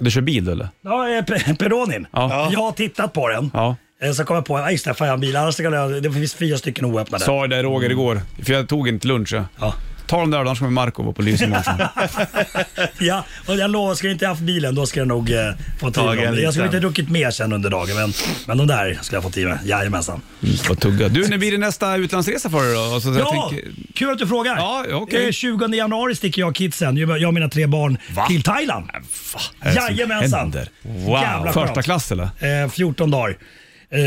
Speaker 2: Du kör bil eller?
Speaker 10: Ja, eh, Pe- Peronin.
Speaker 2: Ja.
Speaker 10: Jag har tittat på den.
Speaker 2: Ja.
Speaker 10: Eh, Så kom jag på, nej just det, fan jag har en bil. Annars kan jag, det finns fyra stycken oöppnade.
Speaker 2: Sa ju det Roger igår, för jag tog inte lunch. Ja.
Speaker 10: Ja.
Speaker 2: Ta de där annars kommer Marco vara på lys imorgon.
Speaker 10: ja, och jag lovar, skulle jag inte haft bilen då skulle jag nog eh, få tid
Speaker 3: Tagen
Speaker 10: om det.
Speaker 3: liten.
Speaker 10: Jag skulle inte druckit mer sen under dagen, men, men de där skulle jag få tid med. Jajamensan.
Speaker 2: Vad tugga. Du, när blir det nästa utlandsresa för dig då? Alltså, jag
Speaker 10: Ja,
Speaker 2: tänker-
Speaker 10: kul att du frågar.
Speaker 2: Ja, okej.
Speaker 10: Eh, 20 januari sticker jag och kidsen, jag och mina tre barn, till Thailand.
Speaker 2: är det som
Speaker 10: Jajamensan.
Speaker 2: händer?
Speaker 10: Jävla skönt.
Speaker 2: Första klass eller?
Speaker 10: Eh, 14 dagar. Eh,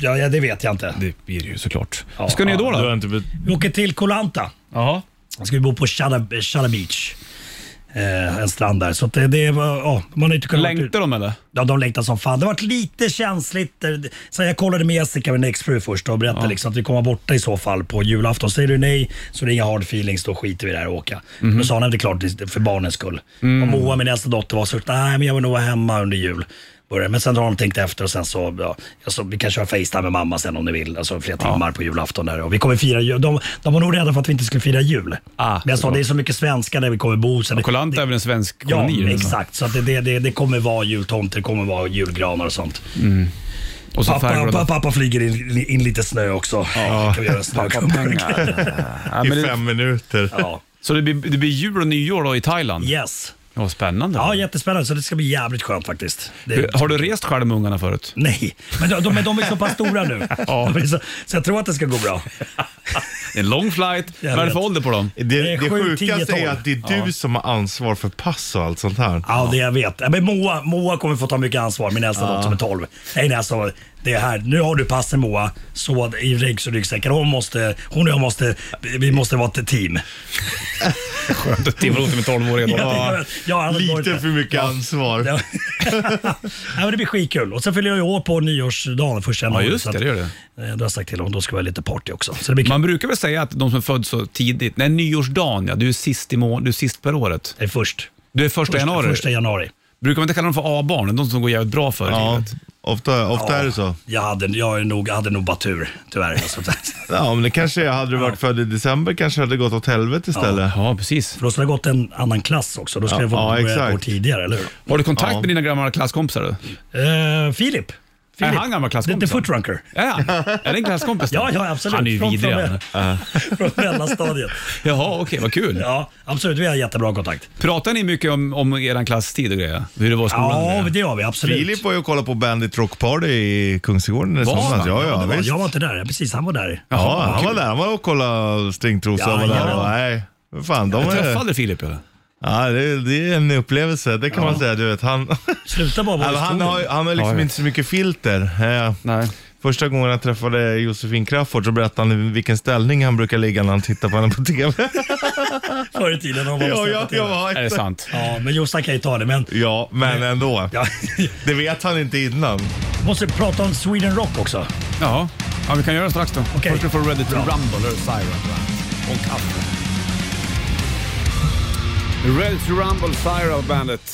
Speaker 10: ja, ja, det vet jag inte.
Speaker 2: Det blir det ju såklart.
Speaker 10: Ja,
Speaker 2: Ska ni då
Speaker 3: Du har
Speaker 2: då?
Speaker 3: inte bet-
Speaker 10: Vi åker till Koh Lanta.
Speaker 2: Ja.
Speaker 10: Ska vi bo på Chada, Chada Beach. Eh, en strand där. Så att det, det var, ja, man har inte kunnat...
Speaker 2: Längtar de eller?
Speaker 10: Ja, de längtar som fan. Det har varit lite känsligt. eh, Så jag kollade med Jessica, min exfru först och berättade liksom att vi kommer vara borta i så fall på julafton. Säger du nej så är det inga hard feelings, då skiter vi i det här och åka.
Speaker 2: Mhm.
Speaker 10: Men sa hon att det är klart det är för barnens skull.
Speaker 2: Mm.
Speaker 10: Och Moa, min äldsta dotter, var så nej men jag vill nog vara hemma under jul. Började. Men sen har de tänkt efter och sen så, ja, alltså, vi kan köra Facetime med mamma sen om ni vill. Alltså flera timmar på julafton där. Och vi kommer fira jul. De, de var nog rädda för att vi inte skulle fira jul.
Speaker 2: Ah,
Speaker 10: men jag sa,
Speaker 2: såklart.
Speaker 10: det är så mycket svenskar där vi kommer bo. Så det-
Speaker 2: Koh Lanta
Speaker 10: det-
Speaker 2: är väl en svensk
Speaker 10: Ja,
Speaker 2: koloni? liksom. eller?
Speaker 10: exakt. Så att det- det, det, det kommer vara jultomter, det kommer vara julgranar och sånt.
Speaker 2: Och så
Speaker 10: Pappa,
Speaker 2: färgglada-
Speaker 10: pappa, pappa flyger in, in lite snö också. Ja. Kan vi göra en snökubb?
Speaker 2: pengar. ja,
Speaker 3: i
Speaker 2: men det,
Speaker 3: fem minuter.
Speaker 10: ja.
Speaker 2: så det blir, det blir jul och nyår då i Thailand?
Speaker 10: Yes.
Speaker 2: Vad spännande.
Speaker 10: Ja, jättespännande. Så det ska bli jävligt skönt faktiskt. Det,
Speaker 2: Har du rest själv med ungarna förut?
Speaker 10: nej, men de, de, är- de är så pass stora nu. De är så, så jag tror att det ska gå bra.
Speaker 2: Det är En lång flight.
Speaker 10: Jag
Speaker 2: Vad är det
Speaker 10: vet.
Speaker 2: för ålder på dem?
Speaker 3: Det,
Speaker 10: Det är
Speaker 3: det
Speaker 10: sju, tio,
Speaker 3: sjukaste
Speaker 10: tolv.
Speaker 3: är att det är du som har ansvar för pass och allt sånt här.
Speaker 10: Ja, det jag vet. Ja, Men Moa, Moa kommer få ta mycket ansvar, min äldsta dotter som är 12. Nej, nej, alltså, det är här. Nu har du passen Moa, så i ryggs och ryggsäcken. Hon, måste, hon och jag måste, vi måste vara ett team.
Speaker 2: Skönt att Timrå med 12-åringen.
Speaker 10: Ja, ja, alltså, annars går det
Speaker 3: Lite
Speaker 10: inte.
Speaker 3: för mycket ansvar.
Speaker 10: Ja. Nej, men det blir skitkul. Och sen fyller jag ju år på nyårsdagen, första
Speaker 2: Ja,
Speaker 10: januari.
Speaker 2: just
Speaker 10: så
Speaker 2: det.
Speaker 10: att-
Speaker 2: Det gör
Speaker 10: Eh, Då
Speaker 2: det.
Speaker 10: har jag sagt till honom, då ska vi ha lite party också. Så det blir kul.
Speaker 2: Man brukar väl säga att de som föds så tidigt, nej nyårsdagen ja, du är sist i mån, du är sist per året.
Speaker 10: Det är först.
Speaker 2: Du är första, januari.
Speaker 10: Första januari.
Speaker 2: Brukar man inte kalla dem för A-barn? De som går jävligt bra för i livet.
Speaker 3: Ofta, ofta
Speaker 10: Ja.
Speaker 3: är det så.
Speaker 10: Jag hade, jag, är nog, jag hade nog bara tur, tyvärr. Alltså.
Speaker 3: Ja, men det kanske är. Hade du varit född i december kanske hade det gått åt helvete istället.
Speaker 2: Ja, precis.
Speaker 10: För då skulle jag gått en annan klass också. Då skulle
Speaker 3: Ja,
Speaker 10: jag få
Speaker 3: ja,
Speaker 10: börja
Speaker 3: exakt.
Speaker 10: ett år tidigare, eller hur?
Speaker 2: Har du kontakt
Speaker 3: Ja.
Speaker 2: med dina gamla klasskompisar? Du?
Speaker 10: Eh, Filip.
Speaker 2: Är
Speaker 10: Filip.
Speaker 2: han gammal klasskompis?
Speaker 10: The, the Footrunker.
Speaker 2: Ja, ja. är det en klasskompis? då?
Speaker 10: Ja, ja, absolut.
Speaker 2: Han är ju
Speaker 10: Från-
Speaker 2: vidrig.
Speaker 10: från
Speaker 2: han. Ja.
Speaker 10: Från mellanstadiet.
Speaker 2: Jaha, okej, vad kul.
Speaker 10: Ja, absolut. Vi har jättebra kontakt.
Speaker 2: Pratar ni mycket om, om er klasstid och grejer? Hur det var i skolan? och
Speaker 10: Ja,
Speaker 2: grejer?
Speaker 10: det gör vi absolut.
Speaker 3: Filip var ju och kollade på Bandit Rock Party i Kungsgården i
Speaker 2: Var
Speaker 3: somras.
Speaker 2: han?
Speaker 3: Ja,
Speaker 10: Ja, det
Speaker 3: ja,
Speaker 10: var,
Speaker 3: visst.
Speaker 10: jag var inte där. Precis, han var där.
Speaker 3: Ja, han
Speaker 2: kul.
Speaker 3: var där. Han var och kollade Stringtrosa.
Speaker 10: Ja,
Speaker 3: var där.
Speaker 10: ja.
Speaker 3: Och, nej, vad fan, de
Speaker 2: Jag
Speaker 3: är...
Speaker 2: träffade Filip eller?
Speaker 3: Ja, det, det är en upplevelse, det kan man säga. Du vet, han,
Speaker 10: Sluta bara vara i
Speaker 3: han, han,
Speaker 10: skogen.
Speaker 3: har, ju- han har liksom
Speaker 2: Ja, ja.
Speaker 3: inte så mycket filter. Eh,
Speaker 2: Nej.
Speaker 3: Första gången jag träffade Josefin Crafoord så berättade han vilken ställning han brukar ligga när han tittar på henne på TV.
Speaker 10: Förr i tiden. har man
Speaker 3: ja,
Speaker 10: varit
Speaker 3: ja,
Speaker 10: stökig.
Speaker 3: ja,
Speaker 2: Är det sant?
Speaker 10: ja, men Jossan kan ju ta det. Men
Speaker 3: ja, men ändå.
Speaker 10: ja,
Speaker 3: Det vet han inte innan.
Speaker 10: måste prata om Sweden Rock också.
Speaker 2: Ja. ja, vi kan göra det strax då.
Speaker 10: Okej.
Speaker 2: Först får du Ready to
Speaker 10: Bra.
Speaker 2: Rumble, eller Siren. Och kaffe. Ready to Rumble, Siren av bandet.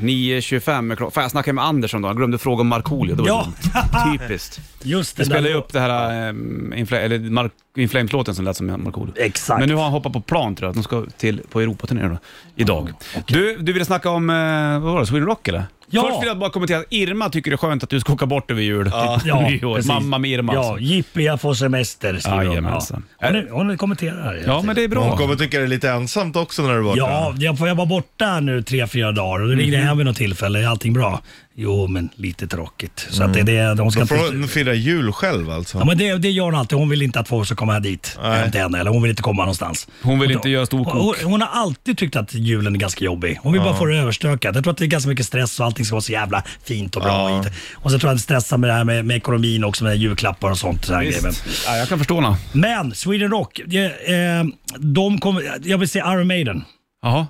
Speaker 2: 9.25 med klockan. Fan, jag snackade med Anders om dagen. Jag glömde fråga om Markoolio. Det var
Speaker 10: Ja.
Speaker 2: dumt. Typiskt.
Speaker 10: Just det
Speaker 2: Jag spelade ju
Speaker 10: där-
Speaker 2: upp det här um, Inflames-låten som lät som Markoolio.
Speaker 10: Exakt.
Speaker 2: Men nu har han hoppat på plan tror jag. De ska till på Europaturné då, idag. Du, du ville snacka om, eh, vad var det, Sweden Rock eller?
Speaker 10: Ja.
Speaker 2: Först vill jag bara kommentera att Irma tycker det är skönt att du ska åka bort över jul.
Speaker 10: Ja,
Speaker 2: Nyår.
Speaker 10: precis.
Speaker 2: Mamma med Irma
Speaker 10: Ja,
Speaker 2: alltså.
Speaker 10: jippi jag får semester skriver hon.
Speaker 2: Jajamensan.
Speaker 10: Ja. Hon, är- hon kommenterar här.
Speaker 2: Ja, men det är
Speaker 3: Hon
Speaker 2: bra.
Speaker 3: kommer tycka det är lite ensamt också när du är borta.
Speaker 10: Ja, jag, får jag var borta nu tre, fyra dagar och då
Speaker 2: Mhm.
Speaker 10: ringde jag hem vid något tillfälle. Är allting bra? Jo, men lite tråkigt. Så
Speaker 2: Mm.
Speaker 10: att det, är det, de ska
Speaker 3: Då får
Speaker 10: inte...
Speaker 3: hon fira jul själv alltså.
Speaker 10: Ja, men det, det gör hon alltid. Hon vill inte att folk ska komma här dit hem till henne. Eller hon vill inte komma någonstans.
Speaker 2: Hon vill
Speaker 10: Och då-
Speaker 2: inte göra storkok.
Speaker 10: Hon, hon har alltid tyckt att julen är ganska jobbig. Hon vill bara få det överstökat. Jag tror att det är ganska mycket stress och allting ska vara så jävla fint och bra.
Speaker 3: Ja.
Speaker 10: Och så tror jag att det stressar med det här med, med ekonomin också, med julklappar och sånt. Så här grejer. Men-
Speaker 2: Visst. Ja, jag kan förstå henne.
Speaker 10: Men Sweden Rock, eh, eh, de kommer, jag vill se Iron Maiden.
Speaker 2: Jaha.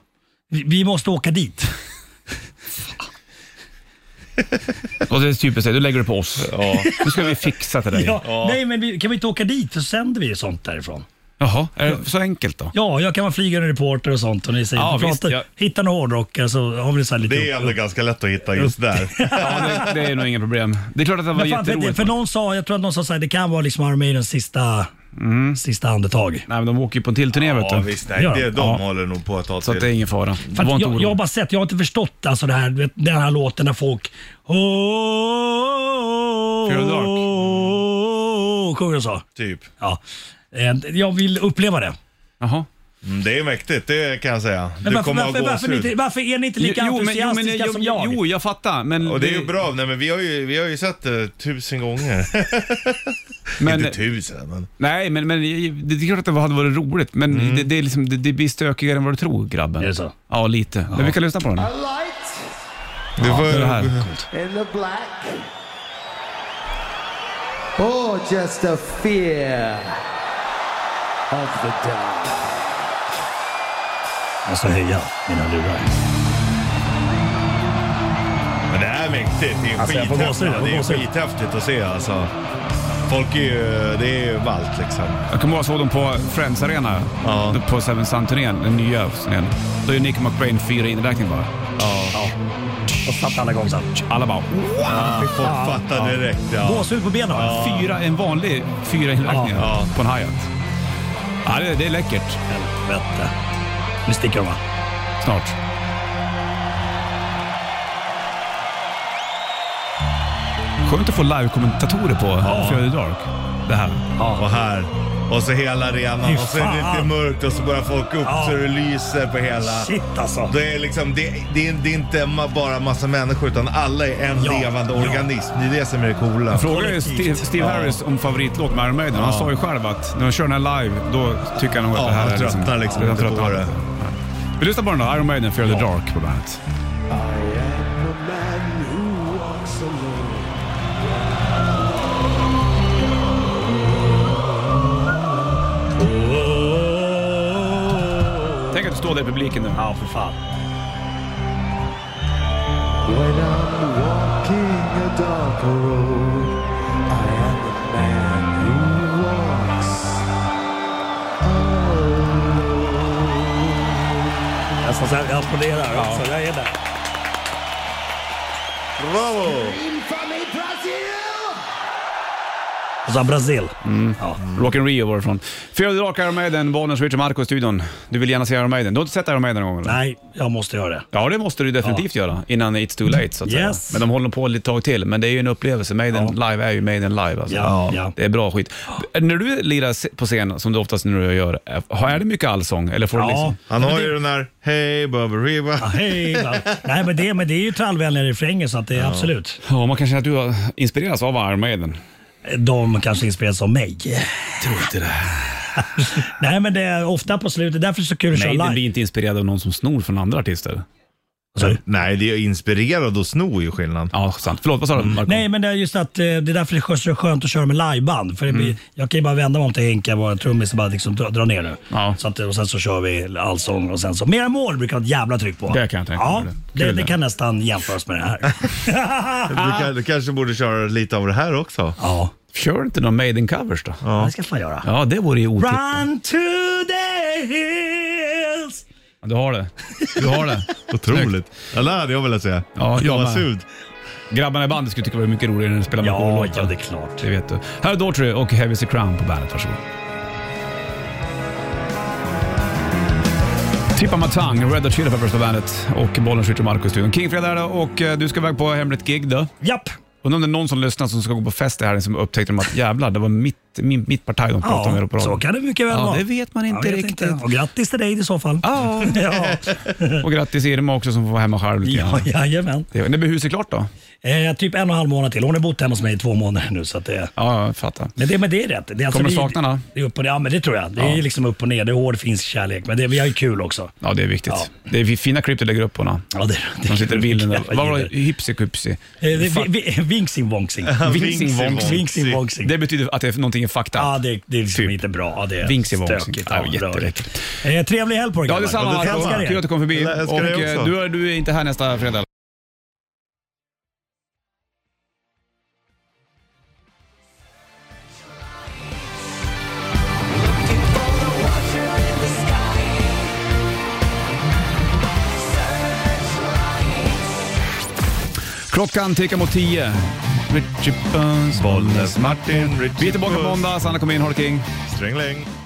Speaker 10: Vi, vi måste åka dit.
Speaker 2: Och det är typiskt dig, du lägger det på oss.
Speaker 3: Ja.
Speaker 2: Nu ska vi fixa till dig.
Speaker 10: Ja, Nej, men vi, kan vi inte åka dit så sänder vi sånt därifrån.
Speaker 2: Jaha, är det så enkelt då?
Speaker 10: Ja, jag kan vara flygande reporter och sånt och ni säger,
Speaker 2: Ja,
Speaker 10: prata,
Speaker 2: visst, ja.
Speaker 10: hitta någon hårdrockare så har vi så här lite...
Speaker 3: Det är ändå ganska lätt att hitta just där.
Speaker 2: Ja, det, det är nog inga problem. Det är klart att det var
Speaker 10: men fan, för,
Speaker 2: jätteroligt.
Speaker 10: för någon sa, jag tror att någon sa så här, det kan vara liksom Iron Maidens sista,
Speaker 2: Mm.
Speaker 10: sista andetag.
Speaker 2: Nej, men de åker ju på en till turné vet du.
Speaker 3: Ja, visst, nej,
Speaker 10: Ja.
Speaker 3: det, de
Speaker 2: Ja.
Speaker 3: håller nog på att ta
Speaker 2: Så att det är
Speaker 3: till.
Speaker 2: ingen fara.
Speaker 10: För
Speaker 2: Du var
Speaker 10: att
Speaker 2: inte
Speaker 10: Mm. jag, jag har
Speaker 2: orolig.
Speaker 10: bara sett, jag har inte förstått alltså det här, du vet, den här låten när folk... Oh,
Speaker 2: Fear of the Dark.
Speaker 10: Sjunger och så.
Speaker 3: Typ.
Speaker 10: Ja. Eh, Jag vill uppleva det.
Speaker 2: Jaha.
Speaker 3: Mm, det är mäktigt, det kan jag säga.
Speaker 10: Men
Speaker 3: Du
Speaker 10: varför,
Speaker 3: kommer
Speaker 10: varför,
Speaker 3: att ha
Speaker 10: varför, ni
Speaker 3: gåshud.
Speaker 10: inte, varför är ni inte lika entusiastiska
Speaker 2: jo,
Speaker 10: som jag?
Speaker 2: Jo, jag fattar. Men
Speaker 3: Och det är ju bra, nej, men vi har ju, vi har ju sett det tusen gånger.
Speaker 2: Men,
Speaker 3: inte tusen, men...
Speaker 2: nej, men, men det är klart att det hade varit roligt, men det, det, är liksom, det, det blir stökigare än vad du tror grabben.
Speaker 10: Mm. Är det så?
Speaker 2: Ja, lite. Men vi kan lyssna på den.
Speaker 3: Du får,
Speaker 2: Det här.
Speaker 5: in the black. Or just a fear of the dark.
Speaker 10: Jag ska höja mina lurar.
Speaker 3: Men det är mäktigt, det är
Speaker 10: Alltså, jag får
Speaker 3: skithäftigt.
Speaker 10: gåshud, jag får
Speaker 3: Det är
Speaker 10: gåshud.
Speaker 3: skithäftigt att se alltså. Folk är ju, det är ju ballt liksom.
Speaker 2: Jag kommer ihåg att jag såg dem på Friends Arena,
Speaker 3: Ja.
Speaker 2: på Seven Sun-turnén, den nya turnén. Då är Nick McBrain fyra inräkning bara.
Speaker 10: Och satt alla igång sen.
Speaker 2: Alla bara
Speaker 3: Ja, folk fattar direkt. Ja.
Speaker 10: Gåshud på benen. Ja.
Speaker 2: fyra, en vanlig fyra inräkning
Speaker 10: Ja.
Speaker 3: Ja.
Speaker 2: på en hi-hat. Ja, det, det är läckert.
Speaker 10: Helvete. Nu sticker de va?
Speaker 2: Snart. Skönt att få live-kommentatorer på ja. Fear the Dark. Det här.
Speaker 3: Och här. Och så hela arenan
Speaker 10: Fy
Speaker 3: och så är det
Speaker 10: fan.
Speaker 3: lite mörkt och så börjar folk upp
Speaker 10: Ja.
Speaker 3: så det lyser på hela.
Speaker 10: Shit alltså.
Speaker 3: Det är, liksom, det, det, är, det är inte ma- bara massa människor utan alla är en
Speaker 10: Ja,
Speaker 3: levande
Speaker 10: ja.
Speaker 3: organism. Det är det som är det coola.
Speaker 2: Fråga är Steve,
Speaker 10: Kollektivt.
Speaker 2: Steve Harris om favoritlåt med Iron Maiden. Han sa ju själv att när de kör den här live, då tycker han nog att
Speaker 3: Ja,
Speaker 2: det här
Speaker 3: han
Speaker 2: är
Speaker 3: tröttnar liksom
Speaker 2: han
Speaker 3: inte på
Speaker 2: tröttnar.
Speaker 3: det.
Speaker 2: Vi lyssnar på den då. Iron Maiden, Fear the Dark på bandet. Tänk att du står där i publiken nu.
Speaker 10: Ja, för fan.
Speaker 5: When I'm walking a dark road, I am the man who walks.
Speaker 10: Nästan så här, jag applåderar. Alltså, jag är där.
Speaker 3: Bravo!
Speaker 10: Och så Brasil.
Speaker 2: Mm. Rock in Rio var det från. Fyra drakar Iron Maiden, Bonus, Richard Marco i studion. Du vill gärna se Iron Maiden. Du har inte sett Iron Maiden någon gång? Eller?
Speaker 10: Nej, jag måste göra det.
Speaker 2: Ja, det måste du definitivt göra innan it's too late så att
Speaker 10: Yes.
Speaker 2: säga. Men de håller på ett tag till, men det är ju en upplevelse. Maiden live är ju Maiden live. Alltså.
Speaker 10: Ja, ja.
Speaker 2: Det är bra skit. När du lirar se- på scen, som du oftast när du gör, eh, är det mycket allsång? Eller får du liksom...
Speaker 3: Han har ju den där Hej Bubba Ribba.
Speaker 2: Ah.
Speaker 10: Hej, va. Nej, men det, men det är ju trallvänliga refränger så att det är absolut.
Speaker 2: Ja, man kanske att du har inspirerats av Iron Maiden.
Speaker 10: De kanske inspireras av mig.
Speaker 2: Tror inte det.
Speaker 10: Nej, men det är ofta på slutet. Därför är det så kul att köra
Speaker 2: Nej, den
Speaker 10: live.
Speaker 2: blir inte inspirerad av någon som snor från andra artister.
Speaker 3: Nej, det är inspirerad och sno ju skillnad.
Speaker 2: Ja, sant. Förlåt, vad sa du? Marco?
Speaker 10: Mm. Nej, men det är just att eh, det är därför det är så skönt att köra med liveband. För det
Speaker 2: Mm.
Speaker 10: blir, Jag kan ju bara vända mig om till Henke, vår trummis, och bara liksom dra, dra ner nu. Så att, och sen så kör vi allsång och sen så. Mera mål brukar ha ett jävla tryck på.
Speaker 2: Det kan jag tänka
Speaker 10: ja,
Speaker 2: mig.
Speaker 10: det, det,
Speaker 2: Kul det.
Speaker 10: kan nästan jämföras med det här.
Speaker 3: Du,
Speaker 2: Ah.
Speaker 3: ka- du kanske borde köra lite av det här också.
Speaker 10: Ja.
Speaker 2: Kör inte någon Maiden-covers då?
Speaker 3: Ja.
Speaker 10: Det ska jag fan göra.
Speaker 2: Ja, det vore ju otippat.
Speaker 10: Run to the hills.
Speaker 2: Du har det. Du har det.
Speaker 3: Otroligt. Ja, det hade jag velat säga.
Speaker 2: Ja, jag med.
Speaker 3: Gåshud.
Speaker 2: Grabbarna i bandet skulle tycka det var mycket roligare när de spelar
Speaker 10: Ja,
Speaker 2: Markoolio-låtar.
Speaker 10: ja, det är klart.
Speaker 2: Det vet du. Här är Daughtry och Heavy Is the Crown på bandet. Varsågod. Tippa Matang, Red Hot Chili Peppers på bandet och bollen skjuter Marco i studion. Kingfredag är det och eh, du ska iväg på hemligt gig då.
Speaker 10: Japp.
Speaker 2: Undrar om det är någon som lyssnar som ska gå på fest i helgen som upptäckte att jävlar, det var mitt, min, mitt parti de pratade om här
Speaker 10: Ja,
Speaker 2: på radion.
Speaker 10: så kan det mycket väl
Speaker 2: Ja,
Speaker 10: vara.
Speaker 2: det vet man inte
Speaker 10: Jag vet
Speaker 2: riktigt.
Speaker 10: Och grattis till dig i så fall.
Speaker 2: Ja.
Speaker 10: ja.
Speaker 2: Och grattis Irma också som får vara hemma själv lite
Speaker 10: ja
Speaker 2: grann.
Speaker 10: jajamän.
Speaker 2: Det- När blir huset klart då?
Speaker 10: Eh, typ en och en halv månad till. Hon har bott hemma hos mig i två månader nu. Så att det,
Speaker 2: Ja, jag fattar.
Speaker 10: men, det, men det är rätt. Det är
Speaker 2: Kommer du
Speaker 10: det är-
Speaker 2: sakna henne?
Speaker 10: Det är upp och ner. Ja, men det tror jag. Det är liksom upp och ner. Det är hård finsk kärlek. Men det, vi har ju kul också.
Speaker 2: Ja, det är viktigt. Det är fina klipp du lägger upp på henne.
Speaker 10: Ja, det, det
Speaker 2: De sitter i bilen där.
Speaker 10: Jävla
Speaker 2: Vad var det?
Speaker 10: gider.
Speaker 2: Hypsi kupsi?
Speaker 10: Eh, det- vi- vi- Vinksing vångsing.
Speaker 2: Vinksing
Speaker 3: Vinksing.
Speaker 2: vångsing.
Speaker 10: Vinksing vångsing.
Speaker 2: Det betyder att det är någonting är fucked up.
Speaker 10: Ja, det, det är liksom inte bra. Ja, det är
Speaker 2: Vinksing vångsing.
Speaker 10: stökigt.
Speaker 2: Ja,
Speaker 10: bra.
Speaker 2: jätteäckligt.
Speaker 10: Eh, trevlig helg på er
Speaker 2: Ja,
Speaker 10: grabbar.
Speaker 2: detsamma
Speaker 10: Älskar
Speaker 2: Marco.
Speaker 10: er.
Speaker 2: Kul att du kom förbi.
Speaker 3: Jag älskar
Speaker 2: Och,
Speaker 3: dig
Speaker 2: eh,
Speaker 3: också.
Speaker 2: du, är- du är inte här nästa fredag. Klockan tickar mot tio. Richie Puss, Bollnäs, Martin.
Speaker 3: Richie
Speaker 2: Vi är tillbaka på
Speaker 3: Puss.
Speaker 2: måndag. Sanna kommer in, ha det king.
Speaker 3: Strängläng.